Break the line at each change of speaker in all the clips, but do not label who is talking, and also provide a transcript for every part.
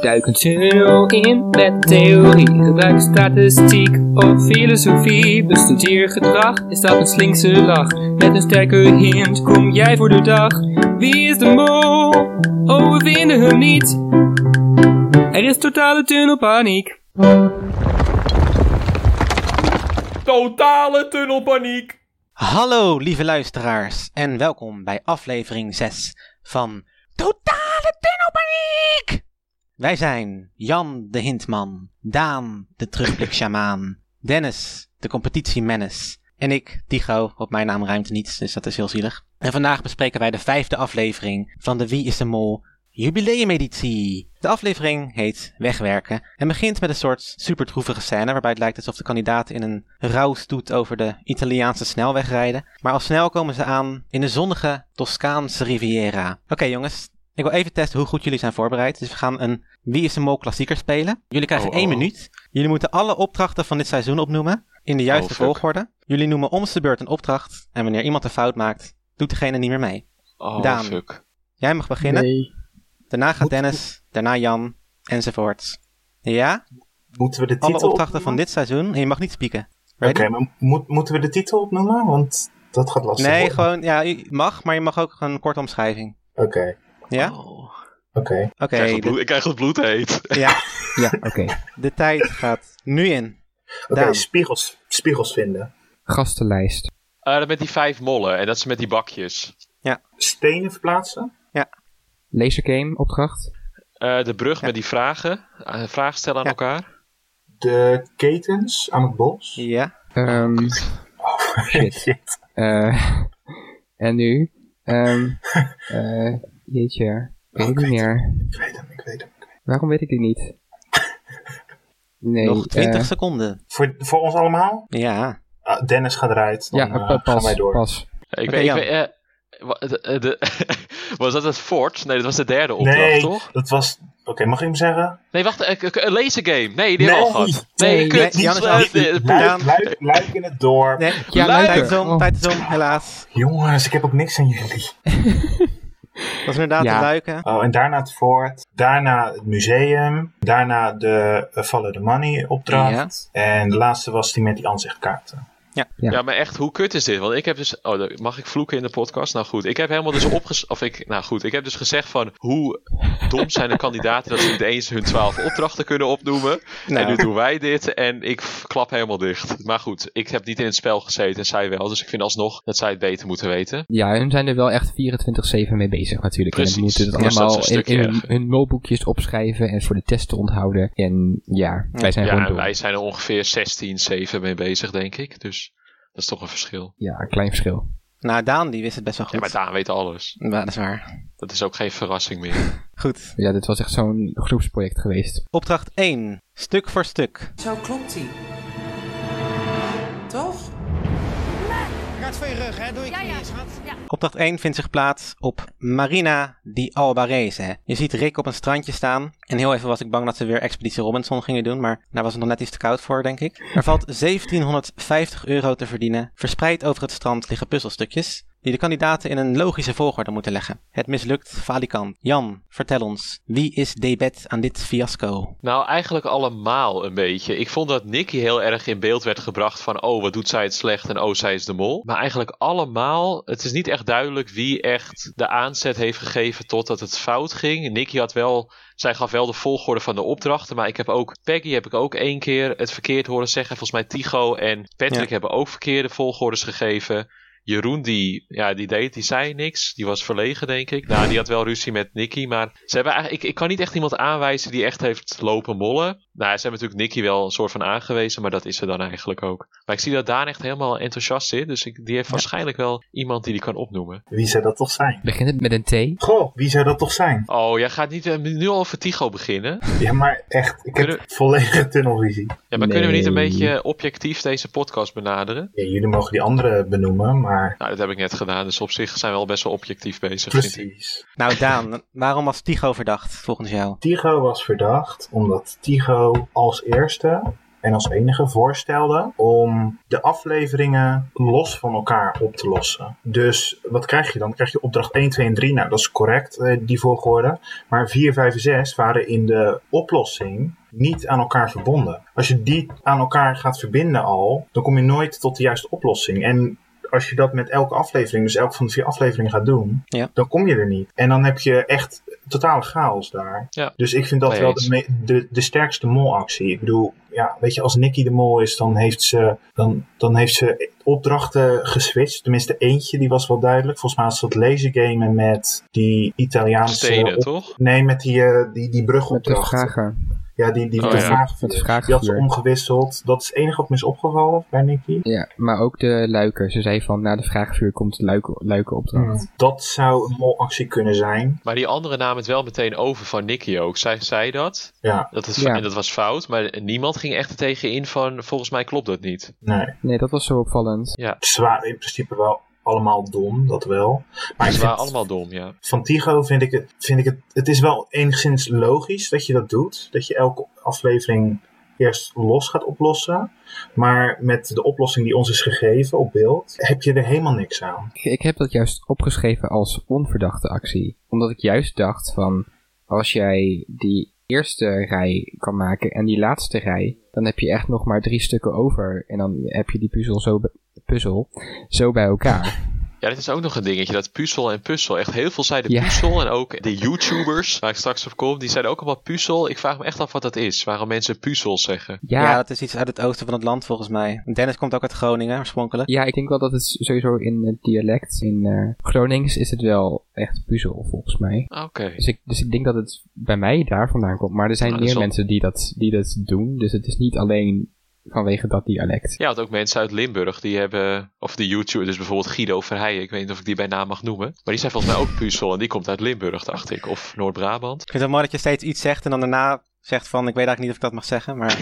Duiken terug in met theorie. Gebruik statistiek of filosofie. Bestudeer gedrag, is dat een slinkse lach? Met een sterke hint kom jij voor de dag. Wie is de mol? Oh, we vinden hem niet. Er is totale tunnelpaniek.
Totale tunnelpaniek.
Hallo lieve luisteraars en welkom bij aflevering 6 van Totale Tunnelpaniek! Wij zijn Jan de Hintman, Daan de Terugblik-Sjamaan, Dennis de Competitie-Menace en ik, Tigo, op mijn naam ruimt niets, dus dat is heel zielig. En vandaag bespreken wij de vijfde aflevering van de Wie is de Mol jubileumeditie. De aflevering heet Wegwerken en begint met een soort supertroevige scène waarbij het lijkt alsof de kandidaten in een rouwstoet over de Italiaanse snelweg rijden. Maar al snel komen ze aan in de zonnige Toscaanse Riviera. Oké jongens, ik wil even testen hoe goed jullie zijn voorbereid. Dus we gaan een Wie is de Mol klassieker spelen. Jullie krijgen
Oh,
één
oh.
minuut. Jullie moeten alle opdrachten van dit seizoen opnoemen in de
Oh,
juiste
fuck.
volgorde. Jullie noemen om de beurt een opdracht en wanneer iemand een fout maakt, doet degene niet meer mee.
Oh,
Daan.
fuck.
Jij mag beginnen.
Nee.
Daarna gaat Dennis, daarna Jan, enzovoort. Ja?
Moeten we de titel
Alle opdrachten van
opnoemen?
dit seizoen. En je mag niet spieken.
Oké,
Ready?
maar moet, moeten we de titel opnoemen? Want dat gaat lastig
Nee,
worden.
gewoon, ja, je mag, maar je mag ook een korte omschrijving.
Oké,
Ja?
Oh.
oké.
Oké.
Ik, krijg het
de,
bloed, ik krijg het bloed heet.
ja,
Ja, oké.
de tijd gaat nu in.
Oké,
Daan.
spiegels, spiegels vinden.
Gastenlijst.
Eh, dat met die vijf mollen en dat is met die bakjes.
Stenen verplaatsen?
Lasergame opdracht.
Eh, de brug met die vragen. Eh, vragen stellen aan
Ja.
elkaar.
De ketens aan het bos?
Ja.
Ehm
Oh,
Oh,
shit.
Shit.
Eh, en nu? Ehm eh, jeetje. Weet
Oh,
ik niet meer.
Ik weet hem, ik weet hem.
Waarom weet ik dit niet? Nee.
Nog 20
eh,
seconden.
Voor, voor ons allemaal?
Ja.
Ah, Dennis gaat eruit, dan
ja,
eh,
pa-
gaan
pas,
wij door.
pas.
Eh, Ik
Oké,
weet, ik
Jan.
weet, eh, wa- de- eh, de- was dat het fort? Nee, dat was de derde opdracht,
nee,
toch?
dat was... Oké, mag ik hem zeggen?
Nee, wacht. eh, k- k- Een laser game. Nee, die hebben we al
Nee.
gehad. Nee,
Nee,
kut.
nee, Jan is
Eh,
af.
de- de-
Nee.
Luik, luik, luik in het dorp.
Nee,
Ja,
ja, nou, tijd is
luister.
om,
Oh.
tijd is om, helaas.
Jongens, ik heb ook niks aan jullie.
Dat is inderdaad
Ja.
de luiken.
Oh, en daarna het fort. Daarna het museum. Daarna de eh, Follow the Money opdracht. En de laatste was die met die aanzichtkaarten.
Ja.
Ja, maar echt, hoe kut is dit? Want ik heb dus. Oh, dan- mag ik vloeken in de podcast? Nou goed, ik heb helemaal dus opges. Of ik. Nou goed, ik heb dus gezegd van. Hoe dom zijn de kandidaten dat ze niet eens hun twaalf opdrachten kunnen opnoemen? En nu
Nou,
doen wij dit en ik f- klap helemaal dicht. Maar goed, ik heb niet in het spel gezeten en zij wel. Dus ik vind alsnog dat zij het beter moeten weten.
Ja, hun zijn er wel echt 24-7 mee bezig natuurlijk.
Precies.
En moeten het
Ja, dat is
allemaal
een
in,
stukje
in hun,
erger.
hun molboekjes opschrijven en voor de testen onthouden. En ja, wij zijn
Ja,
gewoon
en
door.
wij zijn er ongeveer 16, 7 mee bezig, denk ik. Dus dat is toch een verschil.
Ja, een klein verschil.
nou, Daan die wist het best wel
Ja, maar
goed.
Daan weet alles.
Ja, dat is waar.
Dat is ook geen verrassing meer.
Goed.
Ja, dit was echt zo'n groepsproject geweest.
Opdracht 1. Stuk voor stuk.
Zo klopt hij. Toch?
Opdracht 1 vindt zich plaats op Marina di Albarese. Je ziet Rick op een strandje staan. En heel even was ik bang dat ze weer Expeditie Robinson gingen doen, maar daar was het nog net iets te koud voor, denk ik. Er valt 1750 euro te verdienen. Verspreid over het strand liggen puzzelstukjes die de kandidaten in een logische volgorde moeten leggen. Het mislukt Valikant. Jan, vertel ons, wie is debet aan dit fiasco?
Nou, eigenlijk allemaal een beetje. Ik vond dat Nicky heel erg in beeld werd gebracht van... oh, wat doet zij het slecht en oh, zij is de mol. Maar eigenlijk allemaal... het is niet echt duidelijk wie echt de aanzet heeft gegeven totdat het fout ging. Nicky had wel... zij gaf wel de volgorde van de opdrachten... maar ik heb ook... Peggy heb ik ook één keer het verkeerd horen zeggen. Volgens mij Tigo en Patrick
Ja.
hebben ook verkeerde volgordes gegeven... Jeroen, die, ja, die deed, die zei niks. Die was verlegen, denk ik. Nou, die had wel ruzie met Nicky. Maar ze hebben eigenlijk, ik, ik kan niet echt iemand aanwijzen die echt heeft lopen mollen. Nou, ja, ze hebben natuurlijk Nicky wel een soort van aangewezen, maar dat is ze dan eigenlijk ook. Maar ik zie dat Daan echt helemaal enthousiast zit. Dus ik, die heeft waarschijnlijk wel iemand die die kan opnoemen.
Wie zou dat toch zijn?
Begint het met een T?
Goh, wie zou dat toch zijn?
Oh, jij gaat niet eh, nu al over Tigo beginnen.
Ja, maar echt, ik heb
Kunnen-
volledige tunnelvisie.
Ja, maar kunnen we niet een
Nee.
beetje objectief deze podcast benaderen?
Ja, jullie mogen die andere benoemen, maar...
Nou, dat heb ik net gedaan. Dus op zich zijn we al best wel objectief bezig. vind ik.
Precies.
Nou Daan, waarom was Tigo verdacht volgens jou?
Tigo was verdacht omdat Tigo als eerste en als enige voorstelde om de afleveringen los van elkaar op te lossen. Dus wat krijg je dan? Dan krijg je opdracht 1, 2 en 3. Nou, dat is correct, eh, die volgorde. Maar 4, 5 en 6 waren in de oplossing niet aan elkaar verbonden. Als je die aan elkaar gaat verbinden al, dan kom je nooit tot de juiste oplossing. En als je dat met elke aflevering, dus elke van de vier afleveringen gaat doen,
Ja.
dan kom je er niet. En dan heb je echt totale chaos daar.
Ja.
Dus ik vind dat
Mee
wel
eens.
de, me- de, de sterkste molactie. Ik bedoel, ja, weet je, als Nicky de mol is, dan heeft ze, dan, dan heeft ze opdrachten geswitcht. Tenminste, eentje, die was wel duidelijk. Volgens mij was dat laser gamen met die Italiaanse...
Stenen,
op-
toch?
Nee, met die, eh, die, die
Met de
brugopdracht.
vragen.
Ja, die, die
Oh,
de
ja.
vraag
Met de vragen
Die had ze
weer.
omgewisseld. Dat is het enige wat me is opgevallen bij Nicky.
Ja, maar ook de luiken. Ze zei van na de vraagvuur komt de luiken, luikenopdracht.
Hmm.
Dat zou een molactie kunnen zijn.
Maar die andere nam het wel meteen over van Nicky ook. Zij zei dat.
Ja,
dat is,
Ja.
En dat was fout. Maar niemand ging echt er tegenin van volgens mij klopt dat niet.
nee.
Nee, dat was zo opvallend.
Ze waren in principe wel allemaal dom, dat wel. Maar ik
Ze waren
vind,
allemaal dom, ja.
van Tigo vind ik, het, vind ik het... Het is wel enigszins logisch dat je dat doet. Dat je elke aflevering eerst los gaat oplossen. Maar met de oplossing die ons is gegeven op beeld... heb je er helemaal niks aan.
Ik, ik heb dat juist opgeschreven als onverdachte actie. Omdat ik juist dacht van, als jij die eerste rij kan maken en die laatste rij, dan heb je echt nog maar drie stukken over. En dan heb je die puzzel zo, be- puzzel zo bij elkaar.
Ja, dit is ook nog een dingetje, dat puzzel en puzzel. Echt heel veel zeiden
Ja.
puzzel en ook de YouTubers, waar ik straks op kom, die zeiden ook allemaal puzzel. Ik vraag me echt af wat dat is, waarom mensen puzzel zeggen.
Ja,
Ja,
ja,
dat is iets uit het oosten van het land volgens mij. Dennis komt ook uit Groningen oorspronkelijk.
ik denk wel dat het sowieso in het dialect, in eh, Gronings is het wel echt puzzel volgens mij.
Ah, Oké.
Dus ik, dus ik denk dat het bij mij daar vandaan komt. Maar er zijn
Ah, dat
meer
zal-
mensen die dat, die dat doen. Dus het is niet alleen vanwege dat dialect.
Ja, want ook mensen uit Limburg, die hebben, of de YouTubers, dus bijvoorbeeld Guido Verheijen, ik weet niet of ik die bij naam mag noemen. Maar die zijn volgens mij ook puzzel en die komt uit Limburg, dacht ik, of Noord-Brabant.
Ik vind het wel mooi dat je steeds iets zegt en dan daarna zegt van, ik weet eigenlijk niet of ik dat mag zeggen, maar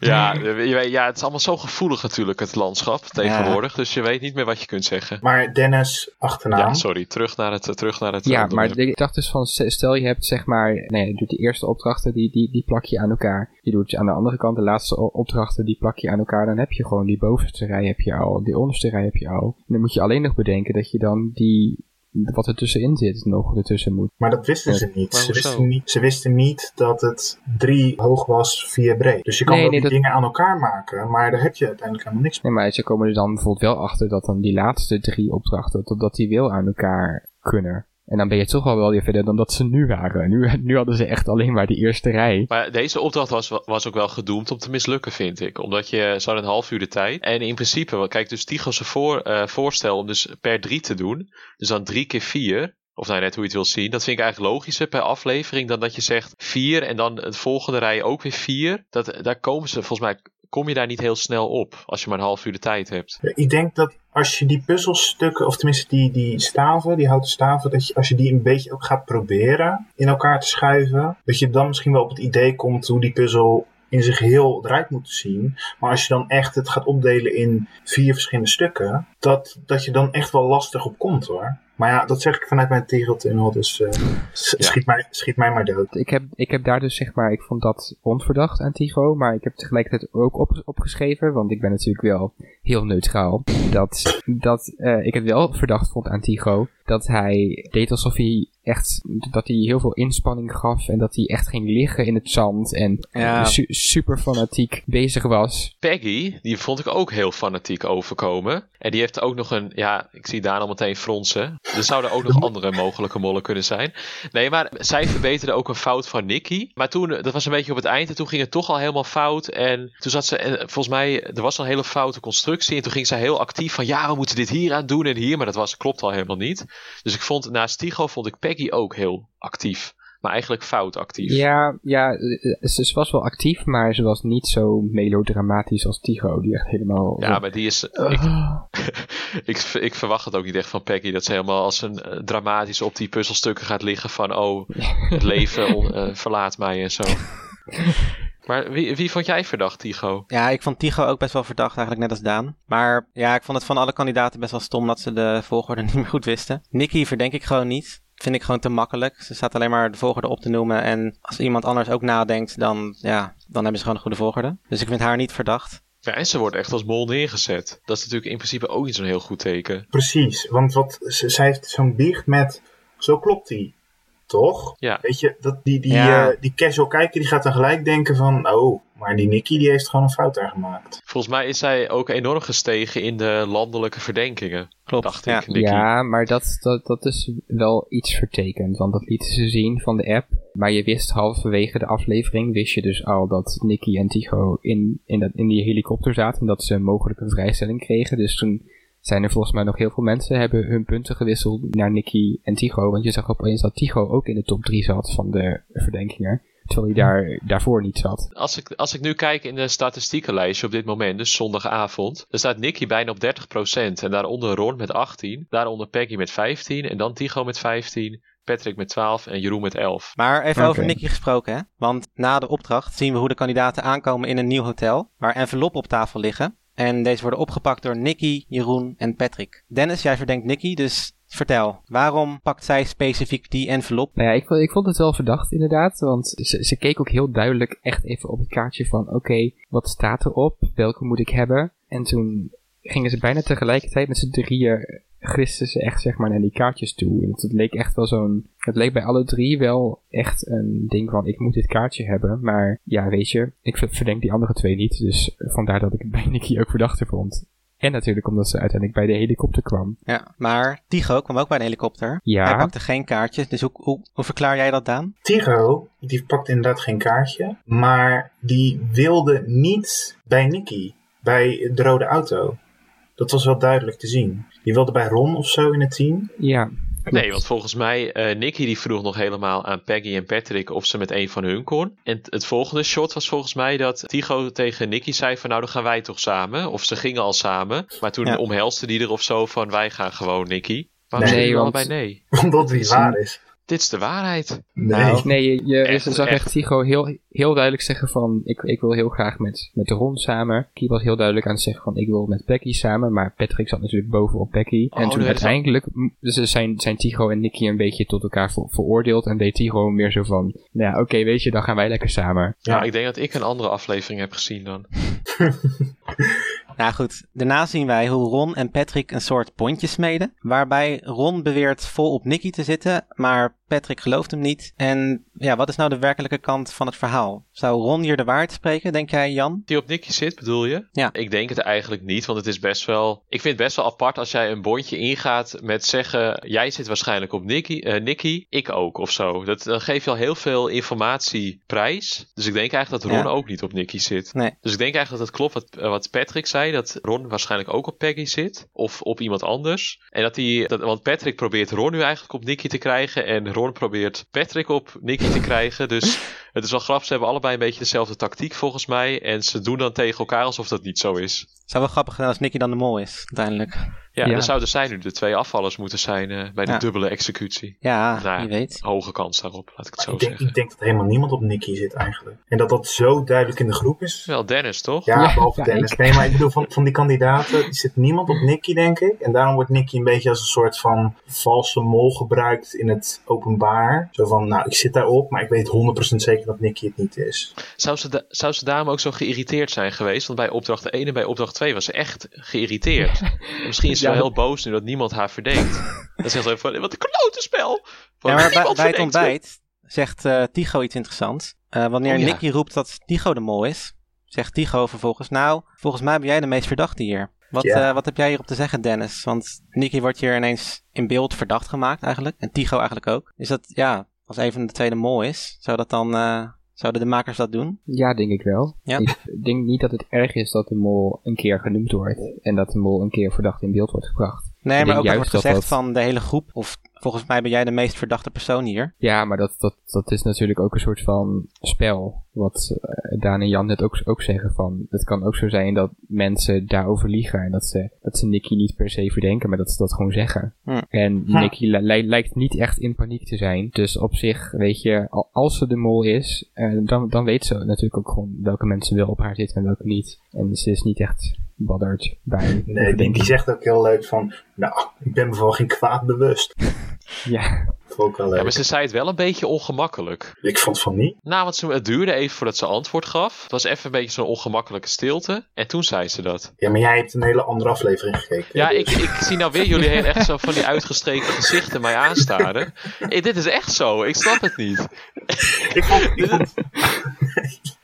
Ja, eh, je weet- ja, het is allemaal zo gevoelig natuurlijk, het landschap tegenwoordig, dus je weet niet meer wat je kunt zeggen.
Maar Dennis, achternaam...
Ja, sorry, terug naar het, eh, terug naar het eh,
Nou. Ja, maar
onderwerp.
ik dacht dus van, s- stel je hebt zeg maar, nee, je doet de eerste opdrachten, die, die, die plak je aan elkaar. Je doet aan de andere kant de laatste o- opdrachten, die plak je aan elkaar. Dan heb je gewoon die bovenste rij heb je al, die onderste rij heb je al. En dan moet je alleen nog bedenken dat je dan die, wat er tussenin zit, nog ertussen moet.
Maar dat wisten
Ja,
ze niet.
maar
Ze
hoezo?
wisten niet, ze wisten niet dat het drie hoog was, vier breed. Dus je kan
Nee,
wel
nee,
die
dat-
dingen aan elkaar maken, maar daar heb je uiteindelijk helemaal niks mee.
Nee, maar ze komen er dan bijvoorbeeld wel achter dat dan die laatste drie opdrachten, totdat die wel aan elkaar kunnen. En dan ben je toch al wel weer verder dan dat ze nu waren. Nu, nu hadden ze echt alleen maar die eerste rij.
Maar deze opdracht was, was ook wel gedoemd om te mislukken, vind ik. Omdat je zo'n een half uur de tijd. En in principe, want kijk, dus Tigo's voor, eh, voorstel om dus per drie te doen. Dus dan drie keer vier. Of nou, net hoe je het wil zien. Dat vind ik eigenlijk logischer per aflevering dan dat je zegt vier en dan het volgende rij ook weer vier. Dat, daar komen ze, volgens mij, kom je daar niet heel snel op als je maar een half uur de tijd hebt.
Ik denk dat als je die puzzelstukken, of tenminste die, die staven, die houten staven, dat je, als je die een beetje ook gaat proberen in elkaar te schuiven, dat je dan misschien wel op het idee komt hoe die puzzel in zijn geheel eruit moet zien. Maar als je dan echt het gaat opdelen in vier verschillende stukken, dat, dat je dan echt wel lastig op komt hoor. Maar ja, dat zeg ik vanuit mijn tegeltunnel, dus eh, s-
Ja.
schiet, mij, schiet mij maar dood.
Ik heb, ik heb daar dus zeg maar, ik vond dat onverdacht aan Tigo, maar ik heb tegelijkertijd ook op, opgeschreven, want ik ben natuurlijk wel heel neutraal, dat, dat eh, ik het wel verdacht vond aan Tigo, dat hij deed alsof hij echt, dat hij heel veel inspanning gaf en dat hij echt ging liggen in het zand en
Ja.
su- super fanatiek bezig was.
Peggy, die vond ik ook heel fanatiek overkomen. En die heeft ook nog een. Ja, ik zie daar al meteen fronsen. Er zouden ook nog andere mogelijke mollen kunnen zijn. Nee, maar zij verbeterde ook een fout van Nicky. Maar toen, dat was een beetje op het eind. En toen ging het toch al helemaal fout. En toen zat ze. En volgens mij, er was al een hele foute constructie. En toen ging zij heel actief van. Ja, we moeten dit hier aan doen en hier. Maar dat was, klopt al helemaal niet. Dus ik vond, naast Tigo, vond ik Peggy ook heel actief. Maar eigenlijk fout actief.
Ja, ja eh, ze, ze was wel actief, maar ze was niet zo melodramatisch als Tigo, die echt helemaal... Ah.
Ja, maar die is.
Eh,
Ik, ik, ik verwacht het ook niet echt van Peggy dat ze helemaal als een eh, dramatisch op die puzzelstukken gaat liggen van oh, het leven on- eh, verlaat mij en zo. Maar wie, wie vond jij verdacht, Tigo?
ja, ik vond Tigo ook best wel verdacht eigenlijk, net als Daan. Maar ja, ik vond het van alle kandidaten best wel stom dat ze de volgorde niet meer goed wisten. Nicky verdenk ik gewoon niet. vind ik gewoon te makkelijk. Ze staat alleen maar de volgorde op te noemen. En als iemand anders ook nadenkt, dan, ja, dan hebben ze gewoon een goede volgorde. Dus ik vind haar niet verdacht.
Ja, en ze wordt echt als mol neergezet. Dat is natuurlijk in principe ook niet zo'n heel goed teken.
Precies, want wat, ze, zij heeft zo'n biecht met, zo klopt die, toch?
Ja.
Weet je, dat, die, die,
Ja.
eh, die casual kijker die gaat dan gelijk denken van, oh, maar die Nicky die heeft gewoon een fout daar gemaakt.
Volgens mij is zij ook enorm gestegen in de landelijke verdenkingen.
Klopt.
Dacht
ja.
ik, Nicky.
Ja, maar dat, dat, dat is wel iets vertekend, want dat lieten ze zien van de app. Maar je wist halverwege de aflevering, wist je dus al dat Nicky en Tycho in, in, dat, in die helikopter zaten en dat ze een mogelijke vrijstelling kregen. Dus toen zijn er volgens mij nog heel veel mensen hebben hun punten gewisseld naar Nicky en Tycho. Want je zag opeens dat Tycho ook in de top 3 zat van de verdenkingen, terwijl hij daar, daarvoor niet zat.
Als ik, als ik nu kijk in de statistiekenlijstje op dit moment, dus zondagavond, dan staat Nicky bijna op 30%. En daaronder Ron met 18, daaronder Peggy met 15 en dan Tigo met 15, Patrick met 12 en Jeroen met 11.
Maar even
Oké.
over Nicky gesproken, hè? Want na de opdracht zien we hoe de kandidaten aankomen in een nieuw hotel, waar enveloppen op tafel liggen. En deze worden opgepakt door Nicky, Jeroen en Patrick. Dennis, jij verdenkt Nicky, dus vertel, waarom pakt zij specifiek die envelop?
Nou ja, ik vond, ik vond het wel verdacht inderdaad, want ze, ze keek ook heel duidelijk echt even op het kaartje van oké, wat staat erop, welke moet ik hebben? En toen gingen ze bijna tegelijkertijd met z'n drieën, gristen ze echt zeg maar naar die kaartjes toe. En het, het leek echt wel zo'n, het leek bij alle drie wel echt een ding van ik moet dit kaartje hebben, maar ja weet je, ik ver- verdenk die andere twee niet, dus vandaar dat ik het bij Nicky ook verdachte vond. En natuurlijk omdat ze uiteindelijk bij de helikopter kwam.
Ja, maar Tigo kwam ook bij een helikopter.
Ja.
Hij pakte geen kaartjes, dus hoe, hoe, hoe verklaar jij dat, Daan?
Tigo, die pakt inderdaad geen kaartje, maar die wilde niet bij Nicky, bij de rode auto. Dat was wel duidelijk te zien. Die wilde bij Ron of zo in het team.
Ja.
Nee, want volgens mij, eh Nicky die vroeg nog helemaal aan Peggy en Patrick of ze met een van hun kon. En t- het volgende shot was volgens mij dat Tigo tegen Nicky zei van nou dan gaan wij toch samen. Of ze gingen al samen. Maar toen
Ja.
omhelste die er of zo van wij gaan gewoon Nicky. Waarom
Nee,
nee,
want-
allebei nee?
Omdat die waar is. Nou,
Dit is de waarheid.
Nee.
Nee, je, je
Echt,
je zag echt
echt.
Tigo heel, heel duidelijk zeggen van... Ik, ik wil heel graag met, met Ron samen. Kie was heel duidelijk aan het zeggen van... Ik wil met Becky samen. Maar Patrick zat natuurlijk bovenop Becky.
Oh,
en
dat
toen
is-
uiteindelijk m- dus ze zijn, zijn Tigo en Nicky een beetje tot elkaar ver- veroordeeld. En deed Tigo meer zo van... Nou ja, oké, weet je, dan gaan wij lekker samen.
Ja.
Nou, ik denk dat ik een andere aflevering heb gezien dan.
Nou goed, daarna zien wij hoe Ron en Patrick een soort bondje smeden. Waarbij Ron beweert vol op Nicky te zitten, maar Patrick gelooft hem niet. En ja, wat is nou de werkelijke kant van het verhaal? Zou Ron hier de waarheid spreken, denk jij, Jan?
Die op Nicky zit, bedoel je?
Ja.
Ik denk het eigenlijk niet, want het is best wel... Ik vind het best wel apart als jij een bondje ingaat met zeggen... Jij zit waarschijnlijk op Nicky, eh, Nicky ik ook of zo. Dat, dan geef je al heel veel informatie prijs. Dus ik denk eigenlijk dat Ron
Ja.
ook niet op Nicky zit.
Nee.
Dus ik denk eigenlijk dat het klopt wat, eh, wat Patrick zei. Dat Ron waarschijnlijk ook op Peggy zit. Of op iemand anders. En dat die, dat, want Patrick probeert Ron nu eigenlijk op Nicky te krijgen. En Ron probeert Patrick op Nicky te krijgen. Dus het is wel grappig. Ze hebben allebei een beetje dezelfde tactiek volgens mij. En ze doen dan tegen elkaar alsof dat niet zo is.
Zou wel grappig zijn als Nicky dan de mol is, uiteindelijk.
Ja,
Ja.
dan zouden zij nu de twee afvallers moeten zijn eh, bij de
Ja.
dubbele executie.
Ja,
Nou,
wie weet.
Hoge kans daarop, laat ik het
Maar
zo
ik, denk,
zeggen.
ik denk dat helemaal niemand op Nicky zit eigenlijk. En dat dat zo duidelijk in de groep is.
Wel Dennis, toch?
Ja,
Ja,
behalve
ja,
Dennis.
ik-
Nee, maar ik bedoel, van, van die kandidaten die zit niemand op Nicky, denk ik. En daarom wordt Nicky een beetje als een soort van valse mol gebruikt in het openbaar. Zo van, nou, ik zit daarop, maar ik weet 100% zeker dat Nicky het niet is.
Zou ze, da- zou ze daarom ook zo geïrriteerd zijn geweest? Want bij opdracht 1 en bij opdracht 2 was ze echt geïrriteerd. Misschien is ze
Ja,
wel
dat-
heel boos nu dat niemand haar verdenkt. Dan zegt ze even van, wat een klote spel! Van,
Ja, maar bij,
"Niemand
bij het
verdenkt me."
ontbijt zegt eh Tigo iets interessants. Eh, wanneer
Oh, ja.
Nicky roept dat Tigo de mol is, zegt Tigo vervolgens... Nou, volgens mij ben jij de meest verdachte hier. Wat,
Ja.
eh, wat heb jij hierop te zeggen, Dennis? Want Nicky wordt hier ineens in beeld verdacht gemaakt eigenlijk. En Tigo eigenlijk ook. Is dat, ja, als een van de twee de mol is, zou dat dan... eh, zouden de makers dat doen?
Ja, denk ik wel.
Ja.
Ik denk niet dat het erg is dat de mol een keer genoemd wordt. En dat de mol een keer verdacht in beeld wordt gebracht.
Nee,
denk
maar ook dat
juist
wordt
dat
gezegd
dat-
van de hele groep. Of volgens mij ben jij de meest verdachte persoon hier.
Ja, maar dat, dat, dat is natuurlijk ook een soort van spel. Wat eh, Daan en Jan net ook, ook zeggen van... Het kan ook zo zijn dat mensen daarover liegen. En dat ze, dat ze Nicky niet per se verdenken, maar dat ze dat gewoon zeggen.
Hm.
En
Ja.
Nicky li- li- lijkt niet echt in paniek te zijn. Dus op zich, weet je, al- als ze de mol is... eh, dan, dan weet ze natuurlijk ook gewoon welke mensen wel op haar zitten en welke niet. En ze is niet echt badderd bij
Nee, die,
denk
die zegt ook heel leuk van, nou, ik ben me van geen kwaad bewust.
Ja,
vond ik wel leuk.
Ja, maar ze zei het wel een beetje ongemakkelijk.
Ik vond van niet.
Nou, want ze, het duurde even voordat ze antwoord gaf. Het was even een beetje zo'n ongemakkelijke stilte. En toen zei ze dat.
Ja, maar jij hebt een hele andere aflevering gekeken.
Ja,
dus-
ik, ik zie nou weer jullie heel echt zo van die uitgestreken gezichten mij aanstaren. Eh, dit is echt zo, ik snap het niet.
ik vond, ik vond-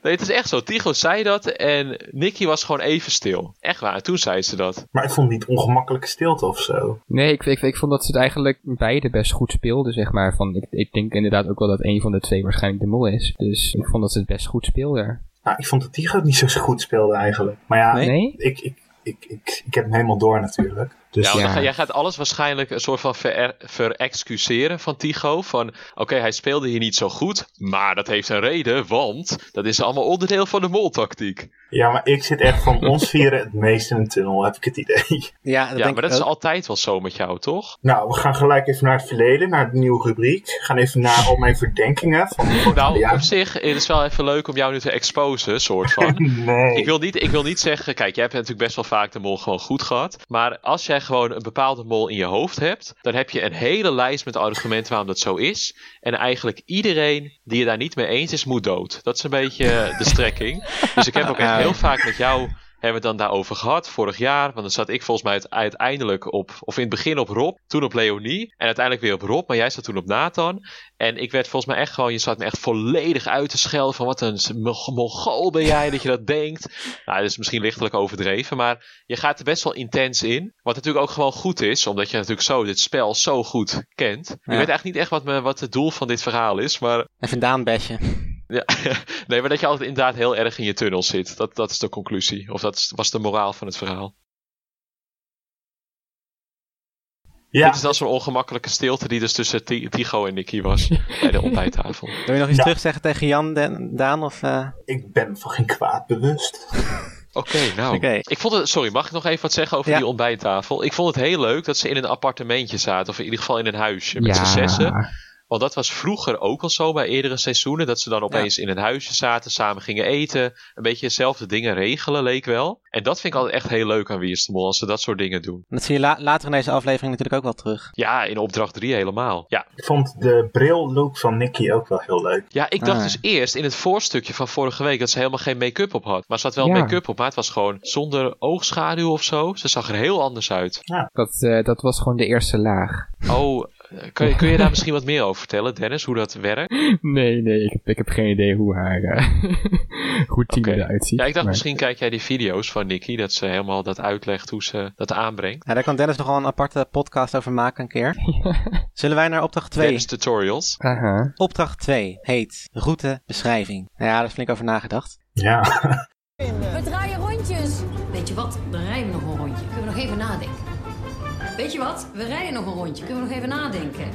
Nee, het is echt zo. Tigo zei dat en Nicky was gewoon even stil. Echt waar, en toen zei ze dat.
maar ik vond het niet ongemakkelijke stilte of zo.
Nee, ik, ik, ik vond dat ze het eigenlijk beide best goed speelden, zeg maar. Van, ik, ik denk inderdaad ook wel dat een van de twee waarschijnlijk de mol is. Dus ik vond dat ze het best goed speelden.
Nou, ik vond dat die ook niet zo goed speelde eigenlijk. Maar ja,
Nee?
Nee?
ik, ik, ik, ik, ik heb hem helemaal door natuurlijk. Dus
Ja, want
Ja.
dan ga- jij gaat alles waarschijnlijk een soort van ver- verexcuseren van Tigo. Van, oké, hij speelde hier niet zo goed, maar dat heeft een reden, want dat is allemaal onderdeel van de moltactiek.
Ja, maar ik zit echt van ons vieren het meest in een tunnel, heb ik het idee.
Ja, dat
Ja,
denk
maar
ik
dat is
ook.
altijd wel zo met jou, toch?
Nou, we gaan gelijk even naar het verleden, naar de nieuwe rubriek. We gaan even naar al mijn verdenkingen. Van
Nou,
ja,
op zich het is wel even leuk om jou nu te exposen, soort van.
nee.
Ik wil, niet, ik wil niet zeggen, kijk, jij hebt natuurlijk best wel vaak de mol gewoon goed gehad. Maar als jij gewoon een bepaalde mol in je hoofd hebt, dan heb je een hele lijst met argumenten waarom dat zo is. En eigenlijk iedereen die je daar niet mee eens is, moet dood. Dat is een beetje de strekking. Dus ik heb ook
Ah.
echt heel vaak met jou. Hebben we het dan daarover gehad vorig jaar? Want dan zat ik volgens mij het- uiteindelijk op, of in het begin op Rob, toen op Leonie en uiteindelijk weer op Rob, maar jij zat toen op Nathan. En ik werd volgens mij echt gewoon, je zat me echt volledig uit te schelden van wat een mo- mongool ben jij dat je dat denkt. Nou, dat is misschien lichtelijk overdreven, maar je gaat er best wel intens in. Wat natuurlijk ook gewoon goed is, omdat je natuurlijk zo dit spel zo goed kent. Ik weet eigenlijk niet echt wat, me, wat het doel van dit verhaal is, maar,
Even Daan bashen.
ja, nee, maar dat je altijd inderdaad heel erg in je tunnel zit. Dat, dat is de conclusie, of dat is- was de moraal van het verhaal.
ja,
Dit is dan zo'n ongemakkelijke stilte die dus tussen Ti- Tigo en Nicky was bij de ontbijttafel.
Wil je nog iets
Ja.
terugzeggen tegen Jan, Den- Daan? Of, eh?
ik ben me van geen kwaad bewust.
Oké, nou.
Oké.
Ik vond het, sorry, mag ik nog even wat zeggen over
Ja.
die ontbijttafel? Ik vond het heel leuk dat ze in een appartementje zaten, of in ieder geval in een huisje met z'n zessen. Want dat was vroeger ook al zo bij eerdere seizoenen, dat ze dan opeens in een huisje zaten, samen gingen eten, een beetje dezelfde dingen regelen, leek wel. En dat vind ik altijd echt heel leuk aan Wie is de Mol, als ze dat soort dingen doen.
Dat zie je la- later in deze aflevering natuurlijk ook wel terug.
Ja, in opdracht 3 helemaal. Ja,
Ik vond de bril-look van Nicky ook wel heel leuk.
Ja, ik dacht
Ah.
dus eerst in het voorstukje van vorige week dat ze helemaal geen make-up op had. Maar ze had wel
Ja.
make-up op, maar het was gewoon zonder oogschaduw of zo. Ze zag er heel anders uit.
Dat, eh, dat was gewoon de eerste laag.
Oh, eh, kun je, kun je daar misschien wat meer over vertellen, Dennis, hoe dat werkt?
Nee, nee, ik heb, ik heb geen idee hoe haar eh, routine
Oké.
eruit ziet.
Ja, ik dacht
maar-
misschien kijk jij die video's van Nikki, dat ze helemaal dat uitlegt hoe ze dat aanbrengt.
Ja, daar kan Dennis nog wel een aparte podcast over maken een keer. Zullen wij naar opdracht 2?
Dennis tutorials.
Aha.
Opdracht 2 heet routebeschrijving. Nou ja, daar is flink over nagedacht.
Ja.
We draaien rondjes. Weet je wat? Dan rijden we nog een rondje. Kunnen we nog even nadenken. Weet je wat? We rijden nog een rondje. Kunnen we nog even nadenken.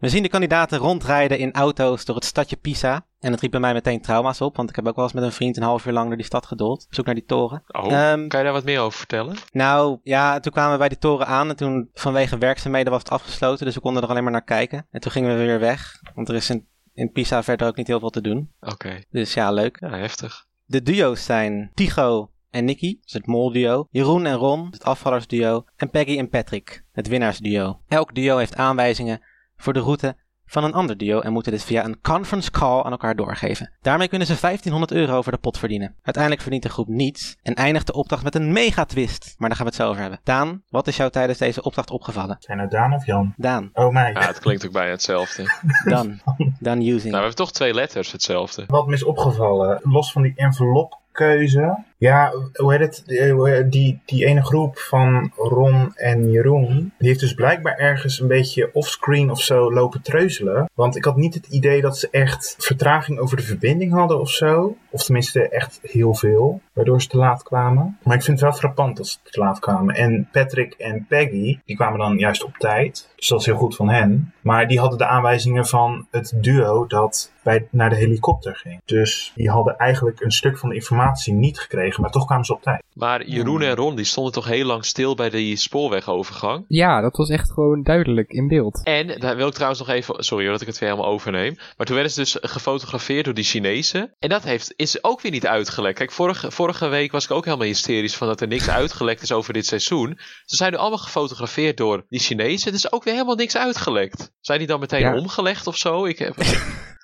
We zien de kandidaten rondrijden in auto's door het stadje Pisa. En dat riep bij mij meteen trauma's op, want ik heb ook wel eens met een vriend een half uur lang door die stad gedold. Op zoek naar die toren.
Oh,
Ehm,
kan je daar wat meer over vertellen?
Nou ja, toen kwamen we bij die toren aan en toen vanwege werkzaamheden was het afgesloten, dus we konden er alleen maar naar kijken. En toen gingen we weer weg, want er is in, in Pisa verder ook niet heel veel te doen.
Oké,
Dus ja, leuk.
ja, heftig.
De duo's zijn Tigo en Nicky, dat is het molduo. Jeroen en Ron, dat is het afvallersduo. En Peggy en Patrick, het winnaarsduo. Elk duo heeft aanwijzingen voor de route van een ander duo en moeten dit via een conference call aan elkaar doorgeven. Daarmee kunnen ze 1500 euro voor de pot verdienen. Uiteindelijk verdient de groep niets en eindigt de opdracht met een mega twist. Maar daar gaan we het zo over hebben. Daan, wat is jou tijdens deze opdracht opgevallen?
Zijn het Daan of Jan?
Daan,
Oh, mij.
Ja, het klinkt ook bijna hetzelfde. Nou,
dan, dan
we
using.
hebben toch twee letters hetzelfde.
Wat me is opgevallen, los van die envelopkeuze. Ja, hoe heet het? Eh, hoe heet- Die, die ene groep van Ron en Jeroen. Die heeft dus blijkbaar ergens een beetje offscreen of zo lopen treuzelen. Want ik had niet het idee dat ze echt vertraging over de verbinding hadden of zo. Of tenminste echt heel veel. Waardoor ze te laat kwamen. Maar ik vind het wel frappant dat ze te laat kwamen. En Patrick en Peggy, die kwamen dan juist op tijd. Dus dat is heel goed van hen. Maar die hadden de aanwijzingen van het duo dat bij, naar de helikopter ging. Dus die hadden eigenlijk een stuk van de informatie niet gekregen, maar toch kwamen ze op tijd.
Maar Jeroen en Ron die stonden toch heel lang stil bij die spoorwegovergang.
Ja, dat was echt gewoon duidelijk in beeld.
En daar wil ik trouwens nog even. Sorry hoor dat ik het weer helemaal overneem. Maar toen werden ze dus gefotografeerd door die Chinezen. En dat heeft, is ook weer niet uitgelekt. Kijk, vorige, vorige week was ik ook helemaal hysterisch van dat er niks uitgelekt is over dit seizoen. Ze zijn nu allemaal gefotografeerd door die Chinezen. Het is ook weer helemaal niks uitgelekt. Zijn die dan meteen
Ja.
omgelegd of zo? Ik eh, heb.